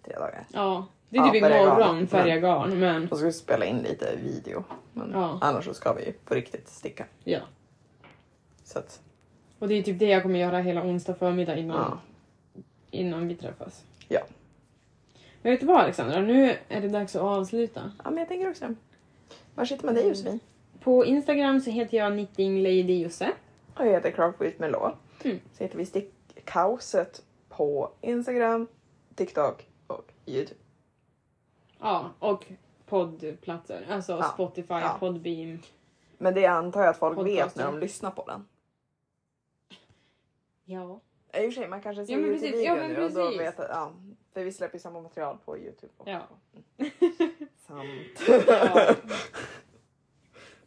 i tre dagar.
Ja, det är typ
Ja, Mm. färga garn.
imorgon färga garn, men
Och så ska vi spela in lite video. Men
Ja.
annars så ska vi ju på riktigt sticka.
ja.
Så att,
Och det är typ det jag kommer göra hela onsdag förmiddag innan,
ja.
innan vi träffas.
Ja.
Men vet du vad Alexandra, nu är det dags att avsluta.
Ja, men jag tänker också det. Var sitter man dig Josefin?
På Instagram så heter jag knittingladyjosse.
Och jag heter Craft with Melå.
Mm.
Så heter vi Stickkaoset på Instagram, TikTok och YouTube.
Ja, och poddplatser. Alltså
Ja.
Spotify,
Ja.
Podbeam.
Men det antar jag att folk vet
Podcaster.
när de lyssnar på den.
Ja.
Ja, I och för sig, man kanske ser
Ja, men
YouTube
precis.
video
Ja, men
nu och då
precis.
vet att, ja, för vi släpper ju samma material på YouTube. Också. Mm.
Ja.
Sant.
ja.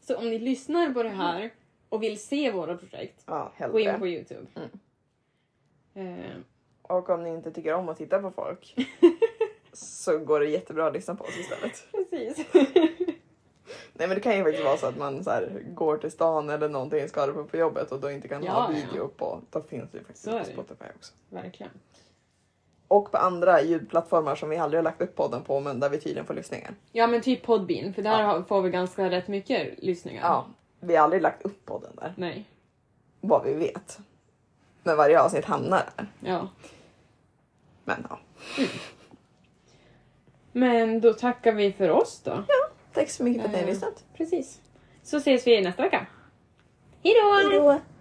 Så om ni lyssnar på det här och vill se våra projekt,
Ja,
gå in
hellre.
på Youtube.
Mm.
Eh,
Och om ni inte tycker om att titta på folk så går det jättebra att lyssna på oss istället.
Precis.
Nej men det kan ju faktiskt vara så att man så här, går till stan eller någonting skadad på, på jobbet och då inte kan
Ja,
ha
ja.
video på. Då finns det ju faktiskt
Så
på
är det.
Spotify också.
Verkligen.
Och på andra ljudplattformar som vi aldrig har lagt upp podden på men där vi tydligen får lyssningar.
Ja men typ Podbean, för där
Ja.
har- får vi ganska rätt mycket lyssningar.
Ja, vi har aldrig lagt upp podden där.
Nej.
Vad vi vet. Men varje avsnitt hamnar där.
Ja.
Men ja.
Men då tackar vi för oss då. Ja.
Tack så mycket för att ni har
Eh.
lyssnat.
Precis. Så ses vi nästa vecka. Hejdå!
Hejdå!